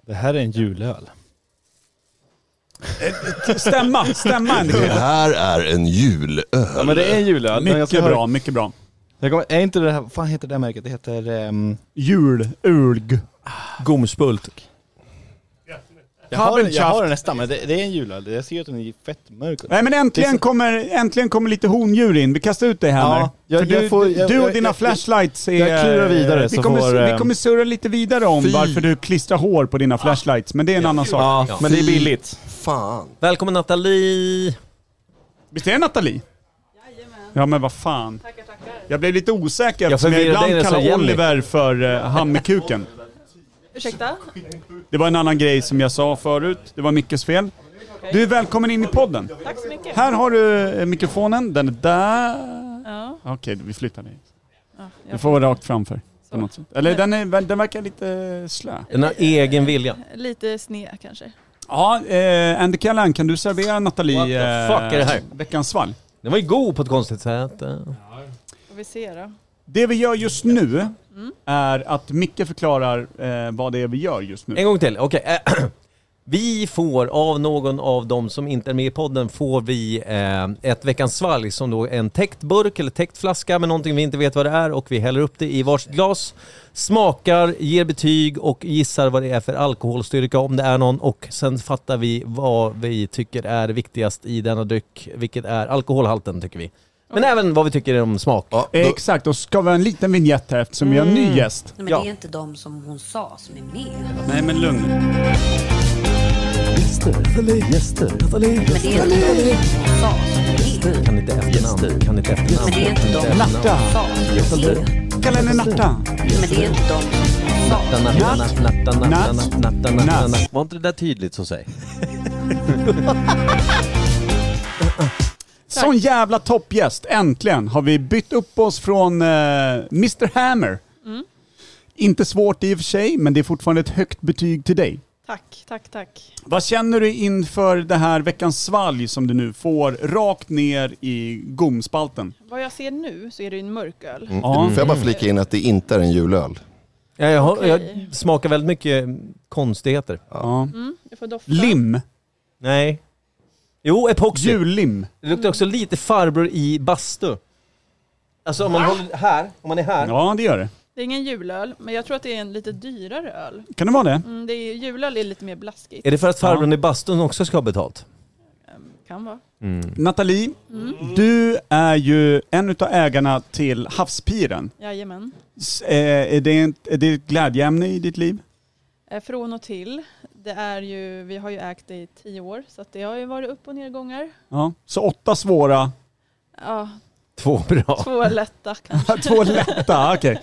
S11: Det här är en julöl.
S2: Stämma, stämma Andy.
S4: Det här är en
S11: Ja
S4: julöl.
S11: men det är en julöl. men jag ska
S2: Mycket
S11: höra-
S2: bra, mycket bra.
S11: Jag kommer, är inte det här, vad fan heter det här märket? Det heter... ehm,
S2: Jul, ulg.
S1: Gomspult.
S11: jag, har, den- jag
S2: Habelschaft.
S11: har den nästan, men det, det är en julöl. Jag ser att den är fett mörk.
S2: Nej men äntligen kommer, äntligen kommer lite hondjur in. Vi kastar ut dig här
S11: Ja,
S2: nu.
S11: jag-
S2: För
S11: jag
S2: du,
S11: får- jag-
S2: du och
S11: jag-
S2: dina
S11: jag-
S2: flashlights är...
S11: jag klurar vidare
S2: vi,
S11: så
S2: kommer,
S11: får,
S2: vi
S11: eh, Ah.
S2: kommer surra lite vidare om
S4: Fy.
S2: varför du klistrar hår på dina flashlights. Men det är en annan sak.
S11: Ja, men det är billigt.
S4: Fan.
S1: Välkommen Nathalie!
S2: Visst är det Nathalie? Ja men vad fan. Tackar, tackar. Jag blev lite osäker eftersom jag
S1: förvirrade dig
S2: ibland
S1: när jag sa
S2: kallar
S1: Jenny.
S2: Oliver för uh, han med kuken.
S9: Ursäkta?
S2: Det var en annan grej som jag sa förut. Det var Mickes fel. Du är välkommen in i podden.
S9: Tack så mycket.
S2: Här har du eh, mikrofonen. Den är där.
S9: Ja,
S2: Okej, vi flyttar dig.
S9: ja,
S2: Du
S9: jag
S2: får vara rakt framför. På
S9: Så.
S2: något sätt. Eller den, är, den verkar lite slö.
S1: Den har egen vilja.
S12: Lite sned kanske.
S2: Ja, eh, Andy Callan, kan du servera Nathalie
S1: What the
S2: eh,
S1: fuck är det här?
S2: veckans svalg?
S1: Den var ju god på ett konstigt sätt. eh.
S12: Får vi se då.
S2: Det vi gör just nu
S9: Mm.
S2: är att Micke förklarar eh, vad det är vi gör just nu.
S1: En gång till, okej. <clears throat> Eh, Vi får av någon av dem som inte är med i podden får vi eh, ett veckans svalg som då är en täckt burk eller täckt flaska med någonting vi inte vet vad det är och vi häller upp det i varsitt glas, smakar, ger betyg och gissar vad det är för alkoholstyrka om det är någon och sen fattar vi vad vi tycker är viktigast i denna dryck, vilket är alkoholhalten tycker vi. Men även vad vi tycker om smak.
S4: Ja,
S2: Eh,
S4: då,
S2: Exakt, och ska vi ha en liten vignett här eftersom vi har en
S9: Mm.
S2: ny gäst.
S13: Nej, men
S1: Ja.
S13: det är inte de som hon sa som är med.
S2: Nej men lugn
S13: Men det är inte de som hon sa som är med.
S1: Kan inte efternamn, kan inte efternamn.
S13: Men det är inte de som hon
S2: Natta.
S13: sa som är med.
S2: Kalla henne Natta.
S13: Men det är inte de som hon sa.
S1: Var inte det där tydligt så säg?
S2: Sån jävla toppgäst. Äntligen har vi bytt upp oss från eh, Mr Hammer. Inte svårt i och för sig, men det är fortfarande ett högt betyg till dig.
S12: Tack, tack, tack.
S2: Vad känner du inför det här veckans svalg som du nu får rakt ner i gomspalten?
S12: Vad jag ser nu så är det ju en mörköl.
S4: mm.
S2: Ja.
S4: Får jag bara flika in att det inte är en julöl?
S1: Ja, jag, har,
S12: Okej.
S1: jag smakar väldigt mycket konstigheter.
S2: Ja.
S12: Mm, du får dofta.
S2: Lim.
S1: Nej. Jo, epoxy.
S2: Jullim.
S1: Det luktar också lite farbror i bastu. Alltså om man håller här, om man är här.
S2: Ja, det gör det.
S12: Det är ingen julöl, men jag tror att det är en lite dyrare öl.
S2: Kan det vara det?
S12: Mm, det är, julöl är lite mer blaskigt.
S1: Är det för att farbrorn i bastun också ska ha betalt?
S12: Kan vara.
S2: Nathalie,
S12: Mm.
S2: du är ju en utav ägarna till Havspiren.
S12: Jajamän.
S2: S- eh, Är det, ett- är det ett glädjeämne i ditt liv?
S12: Eh, Från och till. Det är ju, vi har ju ägt det i tio år, så att det har ju varit upp och nedgångar.
S2: Ja. Så åtta svåra
S12: Ja,
S1: Två bra.
S12: två lätta kanske.
S2: <laughs> Två lätta, okej.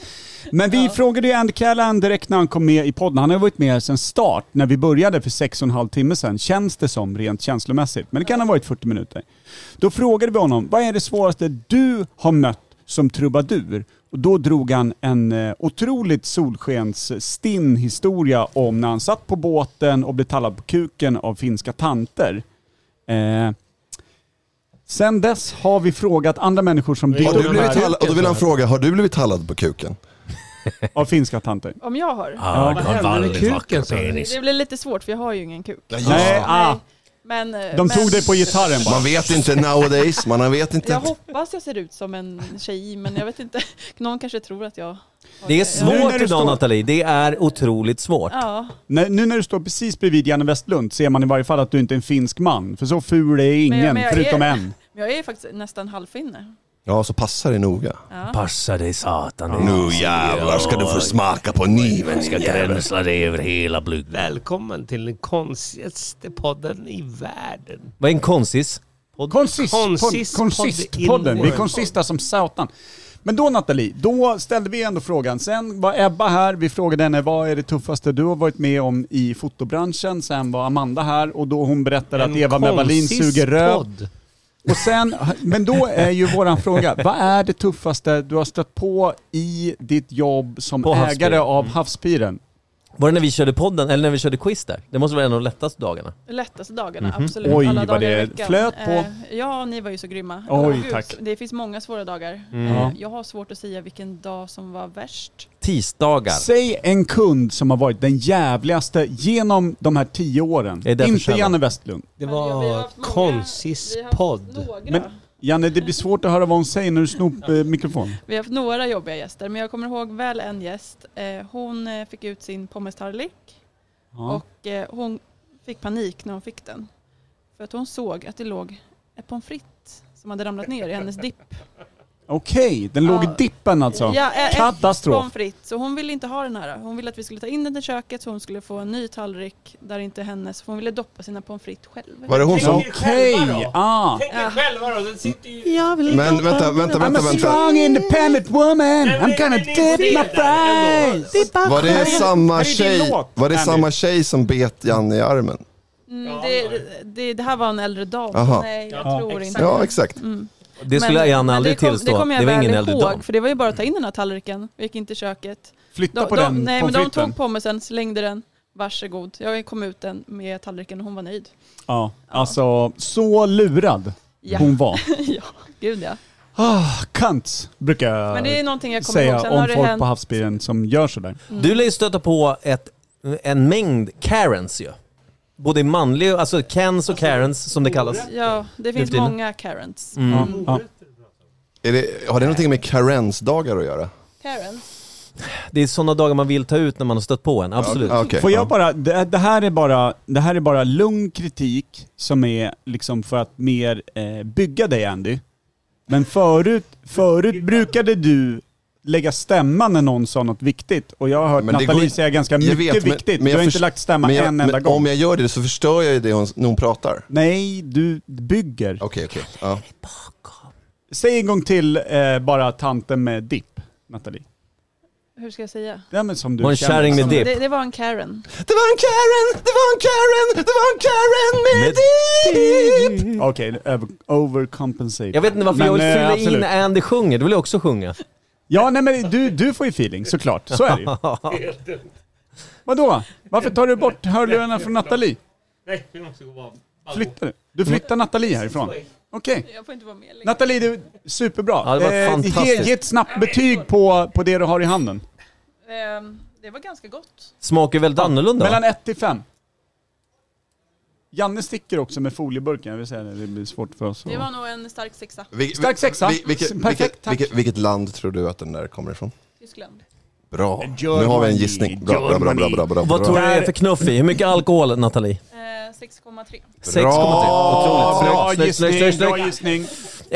S2: Men vi
S12: Ja.
S2: frågade ju Andy Callan direkt när han kom med i podden. Han har ju varit med sedan start, när vi började för sex och en halv timme sedan, känns det som rent känslomässigt. Men det kan ha varit 40 minuter. Då frågade vi honom, vad är det svåraste du har mött som trubadur? Och då drog han en eh, otroligt solskensstinn historia om när han satt på båten och blev tallad på kuken av finska tanter. Eh, sen dess har vi frågat andra människor som dykt
S4: Har du
S2: upp
S4: blivit
S2: här
S4: tall- och då vill han fråga, har du blivit tallad på kuken?
S2: av finska tanter.
S12: Om jag har?
S2: Ja,
S6: Vad hände med kuken säger ni?
S12: Det blir lite svårt för jag har ju ingen kuk.
S4: Ja,
S2: Nej,
S4: just
S2: ah.
S12: Men, eh,
S4: De
S12: men,
S4: tog dig på gitarren bara. Man vet inte nowadays, man vet inte.
S12: Jag hoppas jag ser ut som en tjej, men jag vet inte. <laughs> Någon kanske tror att jag...
S1: Det är
S2: Nu när
S1: svårt
S2: du
S1: idag
S2: står-
S1: Nathalie, det är otroligt svårt.
S12: Ja.
S2: Nej, nu när du står precis bredvid Janne Westlund ser man i varje fall att du inte är en finsk man. För så ful är ingen,
S12: men jag- men jag
S2: förutom
S12: är,
S2: en.
S12: <laughs> Men jag är faktiskt nästan halvfinne.
S4: Ja, så passa dig noga.
S12: Ja.
S4: Passa dig satan. Nu jävlar ska du få smaka på niven.
S3: Ska
S4: jävel.
S3: gränsla dig över hela blod. Välkommen till den konstigaste podden i världen.
S1: Vad är en konsis?
S2: Konsist,
S3: Konsist-
S2: pod, konsistpodden. Vi är konsista som satan. Men då Nathalie, då ställde vi ändå frågan. Sen var Ebba här, vi frågade henne vad är det tuffaste du har varit med om i fotobranschen? Sen var Amanda här och då hon berättade att Eva med Wallin suger röv. Och sen, men då är ju våran fråga, vad är det tuffaste du har stött på i ditt jobb som
S1: På Mm.
S2: ägare
S1: havspiren.
S2: av Havspiren?
S1: Var det när vi körde podden, eller när vi körde quiz där? Det måste vara en av de lättaste dagarna.
S12: Lättaste dagarna,
S1: Mhm.
S12: absolut.
S1: Oj,
S12: Alla
S1: vad
S12: dagar i
S1: det
S12: veckan.
S1: flöt på.
S12: Eh, Ja, ni var ju så grymma.
S1: Oj,
S12: Gud,
S1: tack.
S12: Det finns många svåra dagar.
S1: Mm.
S12: Eh,
S1: Ja.
S12: Jag har svårt att säga vilken dag som var värst.
S1: Tisdagar.
S2: Säg en kund som har varit den jävligaste genom de här tio åren.
S1: Är det för
S2: Inte
S1: sällan?
S2: Janne Westlund.
S3: Det var konsistpodd.
S2: Men Janne, det blir svårt att höra vad hon säger när du snor eh, mikrofon.
S12: Vi har haft några jobbiga gäster, men jag kommer ihåg väl en gäst. Eh, Hon eh, fick ut sin pommestarlik
S2: Ja.
S12: och eh, hon fick panik när hon fick den. För att hon såg att det låg ett pommes frites som hade ramlat ner i hennes dipp.
S2: Okej, den låg i
S12: Ja.
S2: dippen alltså.
S12: eh, ett
S2: Katastrof.
S12: pommes frites. Så hon ville inte ha den här. Hon ville att vi skulle ta in den till köket så hon skulle få en ny tallrik där inte hennes, för hon ville doppa sina pommes frites själv.
S4: Var det hon som-
S2: Okej, ah.
S3: Tänk er själva då, den sitter ju...
S12: Jag vill
S4: Men doppa vänta, vänta, mina-
S2: I'm
S4: vänta,
S2: a
S4: vänta.
S2: strong independent woman, I'm gonna dip my fries.
S4: Var det samma tjej, var det
S12: Andy.
S4: samma tjej som bet Janne i armen?
S12: Mm, det, det, det här var en äldre dam.
S4: Aha.
S12: Nej, jag
S4: Ja,
S12: tror
S4: exakt.
S12: inte
S4: Ja, exakt.
S12: Mm.
S1: Det skulle
S12: Men-
S1: Janne
S12: men
S1: aldrig
S12: det kom,
S1: tillstå.
S12: Det kommer jag
S1: Det var
S12: väl
S1: ingen äldre dam.
S12: ihåg, för det var ju bara att ta in den här tallriken. Vi gick in till köket.
S2: Flytta
S12: de,
S2: på
S12: de,
S2: den
S12: Nej, men de
S2: pommes fritesen.
S12: tog pommesen, slängde den. Varsågod. Jag kom ut den med tallriken och hon var nöjd.
S2: Ja, alltså så lurad
S12: Ja. <laughs>
S2: hon var.
S12: ja, gud ja.
S2: Ah, kant brukar jag
S12: Men det är någonting jag kommer
S2: säga
S12: ihåg. Sen
S2: om
S12: har det
S2: folk
S12: hänt-
S2: på havsbilen som gör sådär.
S1: Du lär ju stöta på ett, en mängd Karens ju. Både manliga, alltså Kens och Karens som det kallas.
S12: Ja, det
S1: Nu
S12: finns
S1: för tiden.
S12: många Karens.
S1: Mm.
S4: Ja. Är det, har det någonting med karensdagar att göra?
S12: Karens?
S1: Det är sådana dagar man vill ta ut när man har stött på en, absolut.
S4: Ah,
S2: Får jag bara, det, det, här är bara, det här är bara lugn kritik som är liksom för att mer eh, bygga dig Andy. Men förut, förut brukade du lägga stämma när någon sa något viktigt och jag har hört
S4: Men det går
S2: Nathalie
S4: inte-
S2: säga ganska
S4: Jag
S2: mycket
S4: vet, men-
S2: viktigt.
S4: men
S2: du
S4: jag
S2: har inte
S4: förs-
S2: lagt stämma
S4: men jag-
S2: en enda
S4: men
S2: gång.
S4: Om jag gör det så förstör jag ju det hon, när hon pratar.
S2: Nej, du bygger.
S4: Okej, okej. Ja.
S2: Säg en gång till eh, bara tanten med dipp, Nathalie.
S12: Hur ska jag säga?
S2: Ja, men som du
S1: Var en
S2: känner.
S1: kärring med
S2: Som-
S1: dipp.
S12: Det, det var en Karen.
S4: Det var en Karen! Det var en Karen! Det var en Karen med dipp!
S2: Okej, över- overcompensate.
S1: Jag vet inte varför
S2: Men,
S1: jag vill
S2: eh,
S1: fylla in
S2: absolut.
S1: Andy sjunger, du vill jag också sjunga. <laughs>
S2: Ja, nej men du, du får ju feeling såklart. Så är det
S1: <laughs>
S2: ju. Vadå? Varför tar du bort hörlurarna från Nathalie?
S3: Nej, vi måste gå av.
S2: Flyttar du? Du flyttar Nathalie härifrån? Okej. Nathalie, du, superbra. Eh,
S1: Ja, det var
S2: ge,
S1: fantastiskt.
S2: ge ett snabbt betyg på, på det du har i handen.
S12: Ehm, Det var ganska gott.
S1: Smakar väldigt annorlunda.
S2: Mellan 1 till 5. Janne sticker också med folieburken, jag vill säga det, det blir svårt för oss.
S12: Det var nog en stark sexa.
S4: Vil-
S2: Stark sexa.
S4: vil- vilket-
S2: Perfekt,
S4: vilket,
S2: tack.
S4: vilket, vilket land tror du att den där kommer ifrån?
S12: Tyskland.
S4: Bra. Nu har vi en gissning. Bra, bra, bra, bra, bra, bra.
S1: Vad tror du det är för knuff i? Hur mycket alkohol, Nathalie?
S12: Eh, 6,3.
S1: 6,3. Otroligt
S2: Bra
S1: snyggt. Snyggt, snyggt,
S2: gissning,
S1: snyggt,
S2: bra
S1: snyggt.
S2: gissning.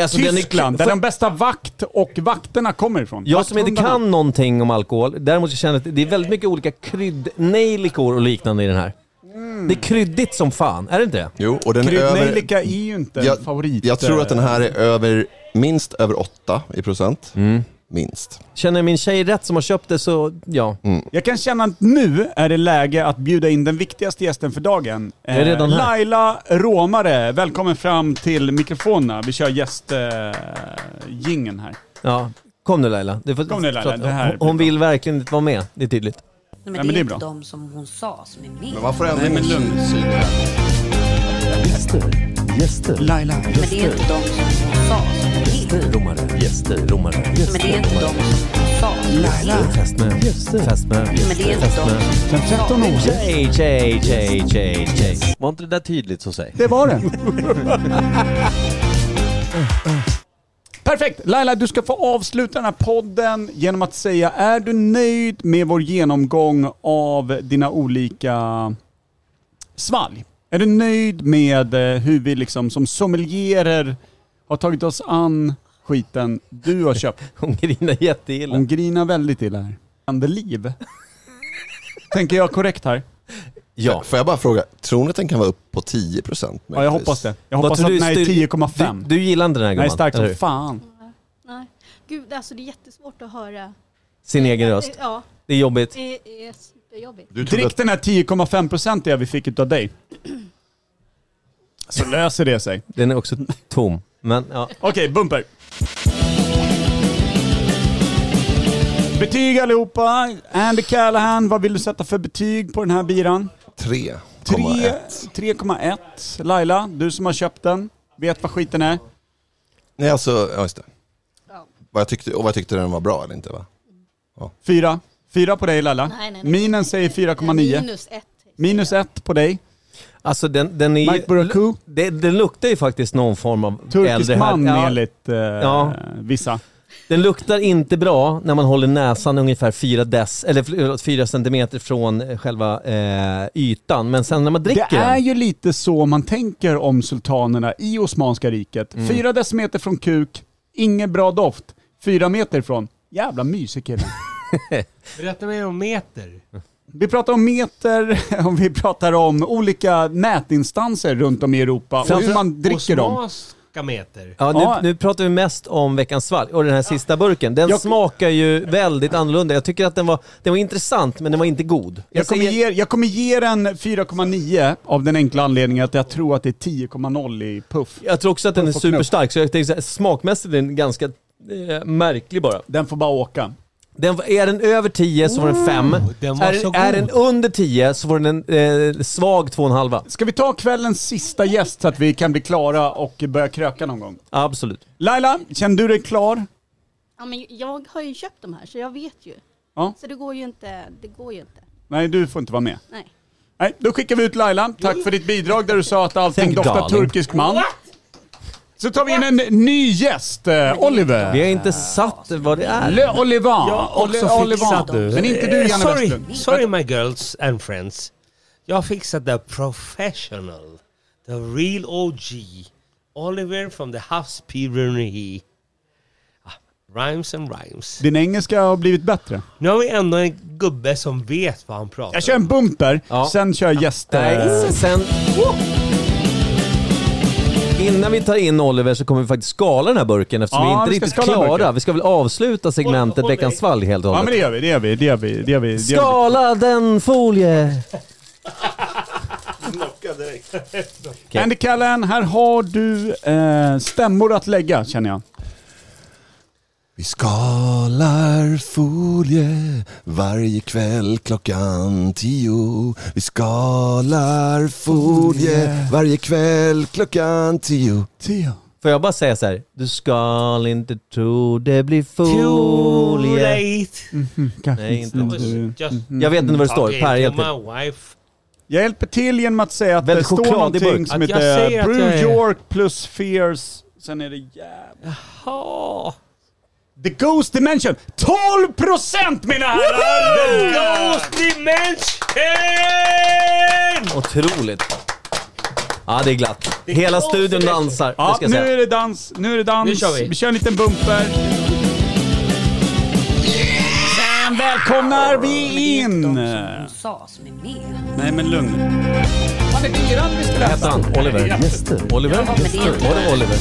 S1: Alltså, den är-
S2: Tyskland, där de bästa vakt och vakterna kommer ifrån.
S1: Jag som inte
S2: Vakthundarna.
S1: kan någonting om alkohol, däremot så känner jag att det är väldigt mycket olika kryddnejlikor och liknande i den här.
S2: Mm.
S1: Det är kryddigt som fan, är det inte det?
S4: Jo, och den är över...
S2: Kryddnejlika är ju inte en favorit. eh,
S4: Jag tror att den här är över, minst över 8 i procent.
S2: Mm.
S4: Minst.
S1: Känner min tjej rätt som har köpt det så, ja.
S13: Mm.
S2: Jag kan känna att nu är det läge att bjuda in den viktigaste gästen för dagen. Eh,
S1: Jag är redan här.
S2: Laila Romare, välkommen fram till mikrofonerna. Vi kör gästjingen här.
S1: ja. Kom nu Laila. Det får-
S2: Kom nu, Laila. Det här
S1: Hon- hon vill verkligen inte vara med, det är tydligt.
S13: men
S2: Ja,
S13: det
S2: men det
S13: är
S2: är
S13: inte
S2: bra.
S13: de som hon sa som är med.
S4: Men varför är Nej, men lugn.
S13: Gäster, gäster.
S2: Laila,
S13: Men det är inte de som hon sa som är med.
S1: Romare, gäster, romare,
S13: Men det är inte de som hon
S1: Fästmö. Fästmö.
S13: Men det är inte
S1: Fästmö.
S13: de som- Sen 13 år.
S1: Tjej, tjej, tjej, tjej, tjej. Var inte det där tydligt så säg?
S2: Det var det. Perfekt! Laila, du ska få avsluta den här podden genom att säga, är du nöjd med vår genomgång av dina olika svalg? Är du nöjd med eh, hur vi liksom som sommelierer har tagit oss an skiten du har köpt?
S1: Hon grinar jätteilla.
S2: Hon grinar väldigt illa här. Händer liv. Tänker jag korrekt här?
S4: Ja. Får jag bara fråga, tror ni att den kan vara upp på 10 procent?
S2: Ja, jag hoppas det. Jag hoppas att den här är 10,5.
S1: Du, du gillar inte den här gumman?
S2: Nej, stark
S1: eller hur?
S2: som fan.
S14: Nej. Gud, alltså det är jättesvårt att höra.
S1: Sin egen röst.
S14: Ja.
S1: Det är jobbigt.
S14: Det är superjobbigt.
S2: Drick den här 10,5 procentiga vi fick utav dig. Så löser det sig.
S1: Den är också tom. Men ja.
S2: Okej, bumper. Betyg allihopa. Andy Callahan, vad vill du sätta för betyg på den här biran?
S4: 3,1.
S2: 3, 3,1. Laila, du som har köpt den, vet vad skiten är.
S4: Nej, alltså, ja just det. Vad jag tyckte, och vad jag tyckte den var bra eller inte va?
S2: Fyra. Fyra på dig Laila.
S14: Nej, nej, nej.
S2: Minen säger 4,9.
S14: Minus ett.
S2: Minus ett på dig.
S1: Alltså den, den är
S2: Mike Buraku.
S1: Det, den luktar ju faktiskt någon form av
S2: Turkisk
S1: äldre
S2: man
S1: här. Ja.
S2: enligt eh,
S1: Ja.
S2: vissa.
S1: Den luktar inte bra när man håller näsan ungefär 4 dess, eller förlåt, 4 centimeter från själva eh, ytan. Men sen när man dricker
S2: Det är
S1: den,
S2: ju lite så man tänker om sultanerna i Osmanska riket.
S1: Mm.
S2: Fyra decimeter från kuk, ingen bra doft. Fyra meter ifrån, jävla mysig kille.
S15: Berätta mer om meter.
S2: Vi pratar om meter, <laughs> och vi pratar om olika mätinstanser runt om i Europa och hur man dricker dem.
S15: Osmanska meter.
S1: Ja, nu, nu pratar vi mest om veckans svalg och den här sista burken. Den smakar ju väldigt annorlunda. Jag tycker att den var, den var intressant men den var inte god.
S2: Jag kommer, ge, jag kommer ge den 4,9 av den enkla anledningen att jag tror att det är 10,0 i puff.
S1: Jag tror också att den är
S2: Puff och knuff.
S1: superstark, så jag tänkte så här, smakmässigt är den ganska eh, märklig bara.
S2: Den får bara åka.
S1: Den, är den över 10 så var den 5.
S2: Ooh, den var
S1: är,
S2: så
S1: är den
S2: god.
S1: under 10 så var den en eh, svag 2,5.
S2: Ska vi ta kvällens sista gäst så att vi kan bli klara och börja kröka någon gång?
S1: Absolut.
S2: Laila, känner du dig klar?
S14: Ja, men jag har ju köpt de här så jag vet ju.
S2: Ja.
S14: Så det går ju inte. Det går ju inte.
S2: Nej, du får inte vara med.
S14: Nej.
S2: Nej, då skickar vi ut Laila. Tack för ditt bidrag där du sa att allting
S1: Thank
S2: doftar
S1: darling.
S2: turkisk man. Så tar vi in en ny gäst, eh, Oliver.
S1: Vi har inte satt vad det är.
S2: Le Olivan.
S15: Jag har också
S2: Ole-
S15: fixat
S2: Olivan.
S15: nu.
S2: Men inte du,
S15: Eh,
S2: Janne
S15: sorry,
S2: Westlund.
S15: sorry my girls and friends. Jag har fixat the professional, the real OG. Oliver from the Havspiranhi. Ah, rhymes and rhymes.
S2: Din engelska har blivit bättre.
S15: Nu har vi ändå en gubbe som vet vad han pratar om.
S2: Jag kör en bumper, sen kör jag eh, gäster.
S1: Nej, Eh, sen... Innan vi tar in Oliver så kommer vi faktiskt skala den här burken eftersom
S2: Ja,
S1: vi inte är
S2: vi ska
S1: riktigt
S2: skala
S1: klara.
S2: burken.
S1: Vi ska väl avsluta segmentet Veckans svalg helt och
S2: Ja men det
S1: hållet.
S2: gör vi, det gör vi, det gör vi. Det gör vi, det gör vi.
S1: Skala den folie!
S2: Andy Callan, här har du eh, stämmor att lägga känner jag.
S4: Vi skalar folie varje kväll klockan tio. Vi skalar folie varje kväll klockan tio.
S2: Tio.
S1: Får jag bara säga så här. Du ska inte tro det blir folie. Nej, inte
S2: Mm.
S1: Jag vet inte vad det står. Per, hjälp mig.
S2: Jag hjälper till genom att säga att
S1: Väldigt
S2: det står
S1: chokladig
S2: någonting
S1: burk.
S2: som
S1: Att jag säger
S2: heter
S1: att
S2: Brew
S1: jag är-
S2: York plus Fierce, sen är det jävla... The Ghost Dimension! 12% mina herrar!
S15: Ghost Dimension!
S1: Otroligt. Ja, det är glatt. Hela studion dansar. det
S2: Ja,
S1: ska jag
S2: nu
S1: säga.
S2: är det dans, nu är det dans.
S1: Nu kör vi.
S2: vi kör en liten bumper. Sen välkomnar vi in...
S13: Sas med mer.
S2: Nej men lugn. Han är dyrare vi skulle
S1: Hette han Oliver? Oliver?
S13: Ja, men det är inte
S1: Var det Oliver?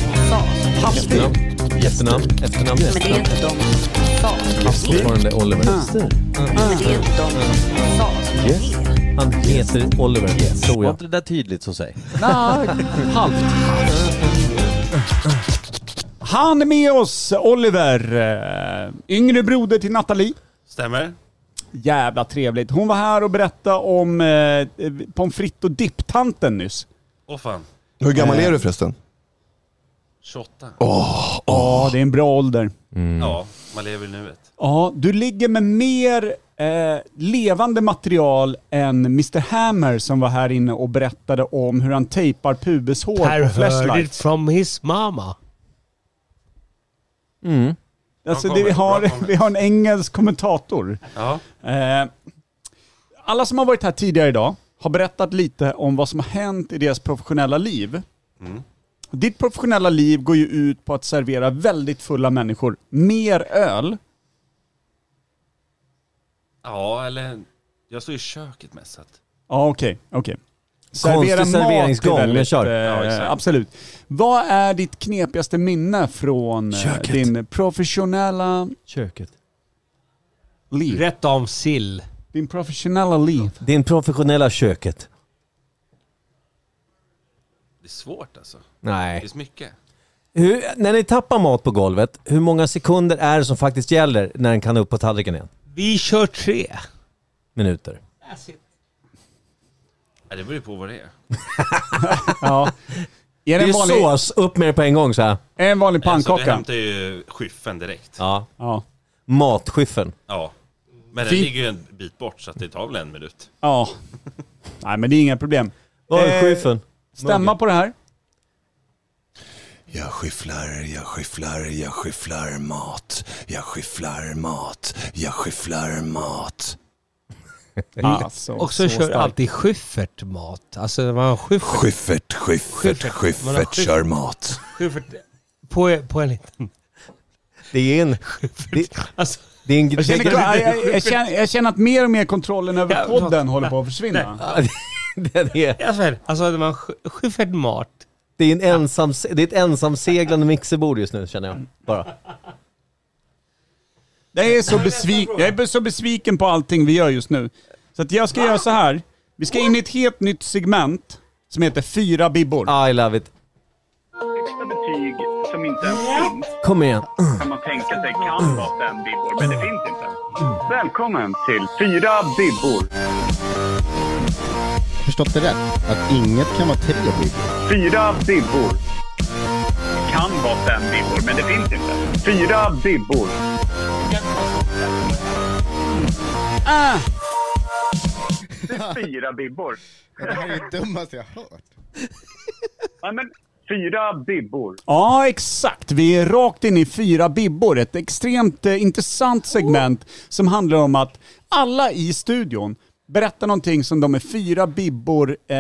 S13: Havsstil.
S1: Efternamn? Efternamn? Efternamn?
S13: Men det är inte de som sa.
S1: Fortfarande Oliver.
S13: Men det är inte de som sa.
S1: Han heter Oliver, tror jag. Var inte det där tydligt så säg?
S2: Nej, halvt. Han är med oss, Oliver. eh, Yngre broder till Nathalie.
S16: Stämmer.
S2: Jävla trevligt. Hon var här och berättade om eh, pommes frites och dipptanten nyss.
S16: Åh fan.
S4: Hur gammal är du förresten?
S16: 28.
S2: Åh, det är en bra ålder.
S16: Ja, Man lever i nuet.
S2: Ja, du ligger med mer eh, levande material än Mr Hammer som var här inne och berättade om hur han tejpar pubishår på
S15: heard it
S2: flashlights.
S15: from his mama.
S2: Mm. Alltså, det, vi, har, <laughs> vi har en engelsk kommentator.
S16: Ja.
S2: Eh, alla som har varit här tidigare idag har berättat lite om vad som har hänt i deras professionella liv.
S16: Mm.
S2: Ditt professionella liv går ju ut på att servera väldigt fulla människor mer öl.
S16: Ja, eller... Jag står i köket mest. Så att...
S2: Ja, okej. okej.
S16: Konstig
S2: mat är
S16: serveringsgång,
S2: väldigt,
S16: men kör.
S2: eh,
S16: Ja, exakt.
S2: absolut. Vad är ditt knepigaste minne från eh,
S15: Köket.
S2: din professionella...
S1: Köket.
S2: Liv.
S15: Rätt om sill.
S2: Din professionella liv.
S1: <laughs> Din professionella köket.
S16: Det är svårt alltså.
S1: Nej.
S16: Det är så mycket.
S1: Hur, när ni tappar mat på golvet, hur många sekunder är det som faktiskt gäller när den kan upp på tallriken igen?
S15: Vi kör tre.
S1: Minuter.
S16: Ja, det beror ju på vad det är.
S2: ja.
S1: Det
S2: Är det
S1: är
S2: en vanlig,
S1: sås, upp med det på en gång så här.
S2: är det en vanlig
S16: Alltså, du
S2: pannkaka?
S16: hämtar ju skyffen direkt.
S1: Ja.
S2: ja.
S1: Matskyffeln.
S16: Ja. Men den
S2: Fint.
S16: ligger ju en bit bort så att det tar väl en minut.
S2: Ja. Nej men det är inga problem.
S16: Vad är skyffen?
S2: Stämma på det här.
S4: Jag skyfflar, jag skyfflar, jag skyfflar mat. Jag skyfflar mat, jag skyfflar mat.
S15: Alltså, och så, kör alltid Schyffert mat. Alltså man Schyffert.
S4: Schyffert, Schyffert,
S15: Man har
S4: Schyffert kör mat.
S15: Schyffert på, på en liten...
S1: Det är en...
S15: Det, alltså,
S1: det är en
S2: Jag känner, jag, jag, jag, känner, jag känner att mer och mer kontrollen över podden håller på att försvinna.
S1: <laughs> det är...
S15: Alltså det var sk- Schyffert mat.
S1: Det är, en ensam, det är ett ensamseglande mixerbord just nu känner jag. Bara.
S2: Jag är, så besvik, jag är be- så besviken på allting vi gör just nu. Så att jag ska göra så här. Vi ska in i ett helt nytt segment som heter Fyra bibbor.
S1: I love it.
S17: Högsta betyg som inte ens finns
S1: Kom igen.
S17: kan man tänka sig kan vara fem bibbor, men det finns inte. Välkommen till Fyra bibbor.
S18: Förstått det rätt? Att inget kan vara tre bibbor.
S17: Fyra bibbor. Kan vara fem bibbor, men det finns inte. Fyra bibbor.
S2: Ah!
S17: Fyra bibbor.
S18: Det här är det dummaste jag har hört.
S17: Ja, men fyra bibbor.
S2: Ja, exakt. Vi är rakt in i Fyra bibbor. Ett extremt eh, intressant segment som handlar om att alla i studion berättar någonting som de är fyra bibbor eh,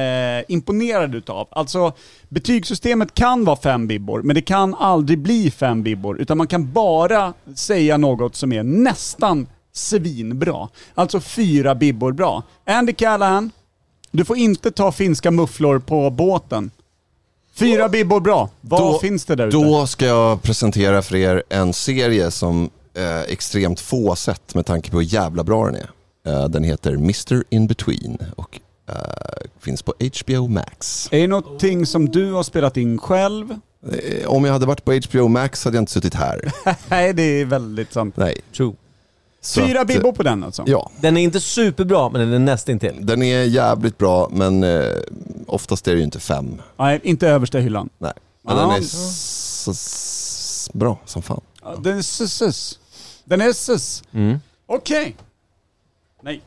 S2: imponerade utav. Alltså, betygssystemet kan vara fem bibbor, men det kan aldrig bli fem bibbor. Utan man kan bara säga något som är nästan svinbra. Alltså fyra bibbor bra. Andy Callahan, du får inte ta finska mufflor på båten. Fyra bibbor bra. Vad
S4: Då-
S2: finns det där ute?
S4: Då ska jag presentera för er en serie som eh, extremt få har sett med tanke på hur jävla bra den är. Eh, den heter Mr. In Between och eh, finns på HBO Max.
S2: Är det någonting som du har spelat in själv?
S4: Eh, om jag hade varit på HBO Max hade jag inte suttit
S2: <laughs>
S4: här.
S2: Nej, det är väldigt sant.
S4: Nej. eh,
S1: True.
S2: Fyra bibbor på den alltså?
S4: Ja.
S1: Den är inte superbra, men den är nästintill.
S4: Den är jävligt bra, men eh, oftast är det ju inte fem.
S2: Nej, inte översta hyllan.
S4: Nej. Men
S2: Ja.
S4: den är s- s- bra som fan.
S2: Ja, Den är sus. Den är sus.
S4: Mm.
S2: Okej. Nej.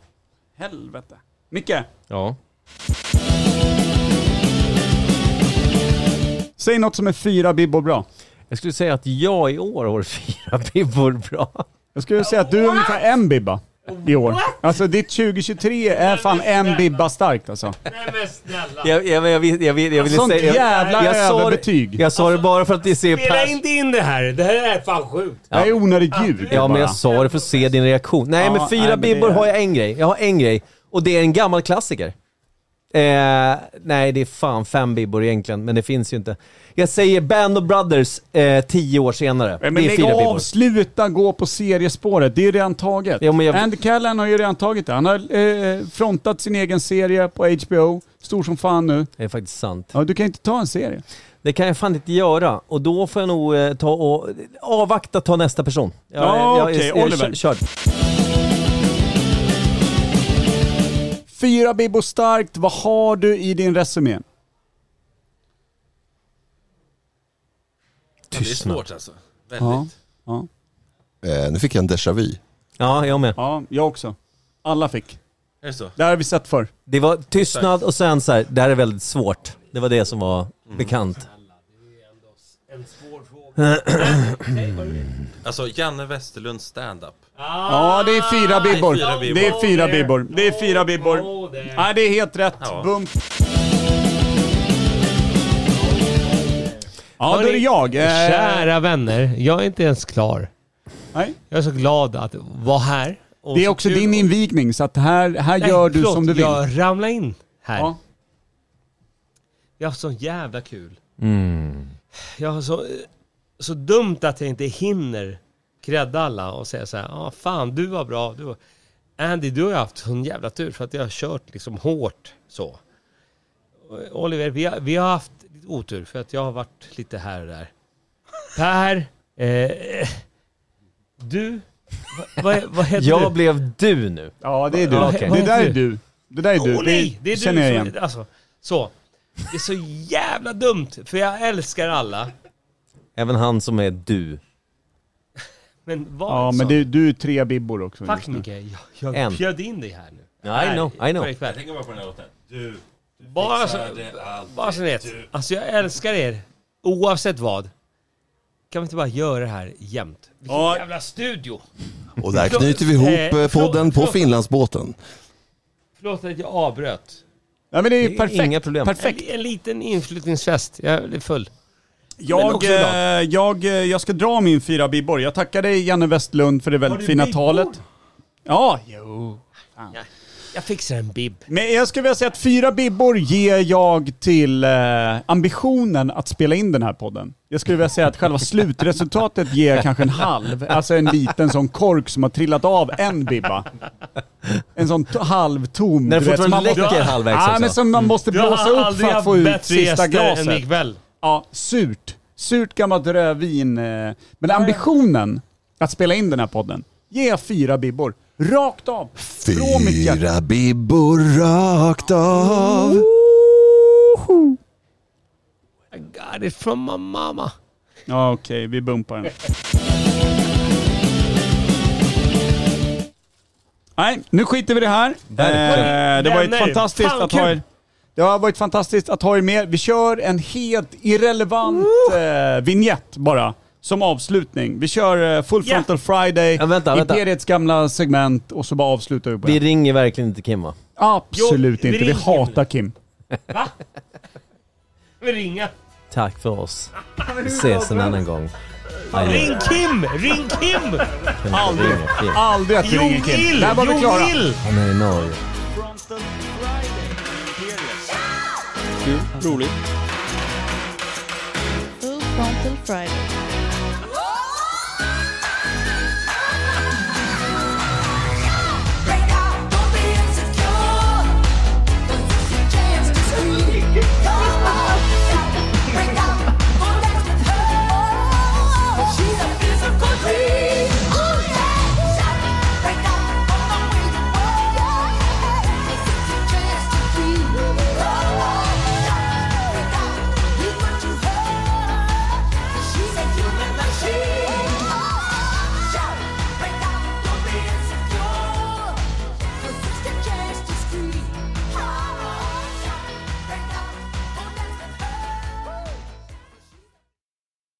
S2: Helvete. Micke,
S1: Ja.
S2: säg något som är fyra bibbor bra.
S1: Jag skulle säga att jag i år har fyra bibbor bra.
S2: Jag skulle säga att du är ungefär en bibba i år. Alltså ditt 2023 är fan en bibba starkt alltså.
S1: Jag, jag, jag, vill- jag, vill- jag ville
S2: Sånt
S1: säga... jag-
S2: jävla
S1: jag, sa det-
S2: överbetyg.
S1: Jag sa det bara för att det ser
S15: Spela
S1: pers...
S15: inte in det här. Det här är fan sjukt.
S1: Ja.
S2: är onödigt ljug
S1: Ja, men
S2: bara.
S1: jag sa det för att se din reaktion. Nej,
S2: Ja,
S1: men
S2: nej,
S1: fyra
S2: men det
S1: bibbor
S2: är-
S1: har jag en grej. Jag har en grej. Och det är en gammal klassiker. Eh, nej, det är fan fem bibbor egentligen, men det finns ju inte. Jag säger Band of Brothers eh, tio år senare.
S2: Nej, Men
S1: det är
S2: lägg
S1: fyra
S2: av,
S1: bibbor.
S2: sluta gå på seriespåret. Det är ju redan taget. Andy Callan har ju redan tagit det. Han har eh, frontat sin egen serie på HBO. Stor som fan nu.
S1: Det är faktiskt sant.
S2: Ja, du kan inte ta en serie.
S1: Det kan jag fan inte göra. Och då får jag nog eh, ta och avvakta, ta nästa person. Jag,
S2: Ja,
S1: jag-
S2: okej,
S1: jag- jag-
S2: Oliver.
S1: kör- Kör.
S2: Fyra Bibbo starkt. Vad har du i din resumé?
S16: Men det är svårt alltså. Väldigt.
S2: Ja, ja.
S4: Eh, nu fick jag en déjà vu.
S1: Ja, jag med.
S2: Ja, jag också. Alla fick.
S19: Är det så?
S2: Det här har vi sett för.
S1: Det var tystnad och sen så här, det här är väldigt svårt. Det var det som var bekant.
S11: Alltså Janne Westerlunds stand-up.
S2: Ja, det är fyra bibbor.
S11: Ah, Det är fyra bibbor.
S2: Det är fyra bibbor. Det är fyra bibbor. Nej, det är helt rätt.
S11: Ja.
S2: Bump. Ja, då är det jag. Eh,
S3: Kära vänner, jag är inte ens klar.
S2: Nej.
S3: Jag är så glad att vara här. och
S2: Det är
S3: så
S2: också
S3: kul
S2: din invigning, så att här, här
S3: Nej,
S2: gör du
S3: förlåt,
S2: som du vill.
S3: jag ramlar in här.
S2: Ja.
S3: Jag har haft så jävla kul.
S1: Mm.
S3: Jag har så, så dumt att jag inte hinner credda alla och säga så här, ah, fan du var bra. Du var... Andy, du har ju haft sån jävla tur för att jag har kört liksom hårt så. Oliver, vi har, vi har haft lite otur för att jag har varit lite här och där. Per, eh, du, vad, vad, vad heter du?
S1: Jag blev du nu.
S2: Ja, det är du.
S3: Ja, okej.
S2: Det där är du. Det där är du.
S3: Åh nej, det är du
S2: känner jag igen.
S3: som... Alltså, så. Det är så jävla dumt, för jag älskar alla.
S1: Även han som är du.
S3: Men vad
S2: Ja, men du, du är tre bibbor också
S3: Fuck
S2: just nu.
S3: Micke, jag, jag
S1: En.
S3: bjöd in dig här nu.
S1: I know, I know.
S3: Jag
S11: tänker bara på den här låten. Du, du
S3: Bara så,
S11: fixar det alltid.
S3: bara så ni vet.
S11: Du.
S3: Alltså jag älskar er, oavsett vad. Kan vi inte bara göra det här jämt? Vilken jävla studio!
S4: Och där
S3: Förlåt,
S4: knyter vi
S3: eh,
S4: ihop eh,
S3: förlåt,
S4: podden på
S3: förlåt.
S4: Finlandsbåten.
S3: Förlåt att jag avbröt.
S2: Ja, men det är ju perfekt. Perfekt.
S3: En, en liten inflyttningsfest. Jag är full. Men
S2: Jag,
S3: också glad.
S2: eh, jag, eh, jag ska dra min fyra bibbor. Jag tackar dig Janne Westlund för det väldigt
S3: du
S2: fina
S3: bibbor?
S2: talet. Ja, jo. Fan.
S3: Jag fixar en bib.
S2: Men jag skulle vilja säga att fyra bibbor ger jag till eh, ambitionen att spela in den här podden. Jag skulle vilja säga att själva slutresultatet ger kanske en halv, alltså en liten sån kork som har trillat av en bibba. En sån t- halvtom.
S1: När det
S2: du vet, som man
S1: fortfarande
S2: måste-
S1: läcker halvvägs alltså.
S2: Ja,
S1: också.
S2: men som man måste
S3: Du har
S2: blåsa upp
S3: aldrig
S2: för att
S3: haft
S2: få ut
S3: bättre
S2: sista
S3: gäster
S2: glaset.
S3: än ikväll.
S2: Ja, surt. Surt gammalt rödvin. eh. Men ambitionen att spela in den här podden, ge fyra bibbor. Rakt av. Från mitt hjärta.
S4: Fyra bibbor rakt av.
S3: I got it from my mama.
S2: Ja, okej. vi bumpar den. Nej, nu skiter vi i det här.
S1: Verkligen.
S2: Eh, det var ju
S1: Vänner,
S2: fantastiskt
S1: fan
S2: att ha
S1: kul.
S2: er... Det har varit fantastiskt att ha er med. Vi kör en helt irrelevant eh, vignett bara, som avslutning. Vi kör eh, Full Frontal Friday,
S1: vänta, vänta.
S2: Imperiets gamla segment och så bara avslutar vi på
S1: Vi
S2: det.
S1: ringer verkligen inte Kimma.
S2: Absolut
S1: Jo, vi
S2: inte. Vi
S1: ringer
S2: hatar Kim.
S3: Vi ringa.
S1: Tack för
S11: <laughs>
S1: oss. Vi ses en annan gång.
S3: Ring Kim! Ring Kim!
S2: Aldrig. Aldrig att vi
S3: Jo,
S2: ringer Kim.
S3: Gill!
S2: Där var vi
S3: Jo,
S2: klara.
S3: Gill!
S1: Han är i Norge.
S20: Roligt.
S14: Full frontal Friday.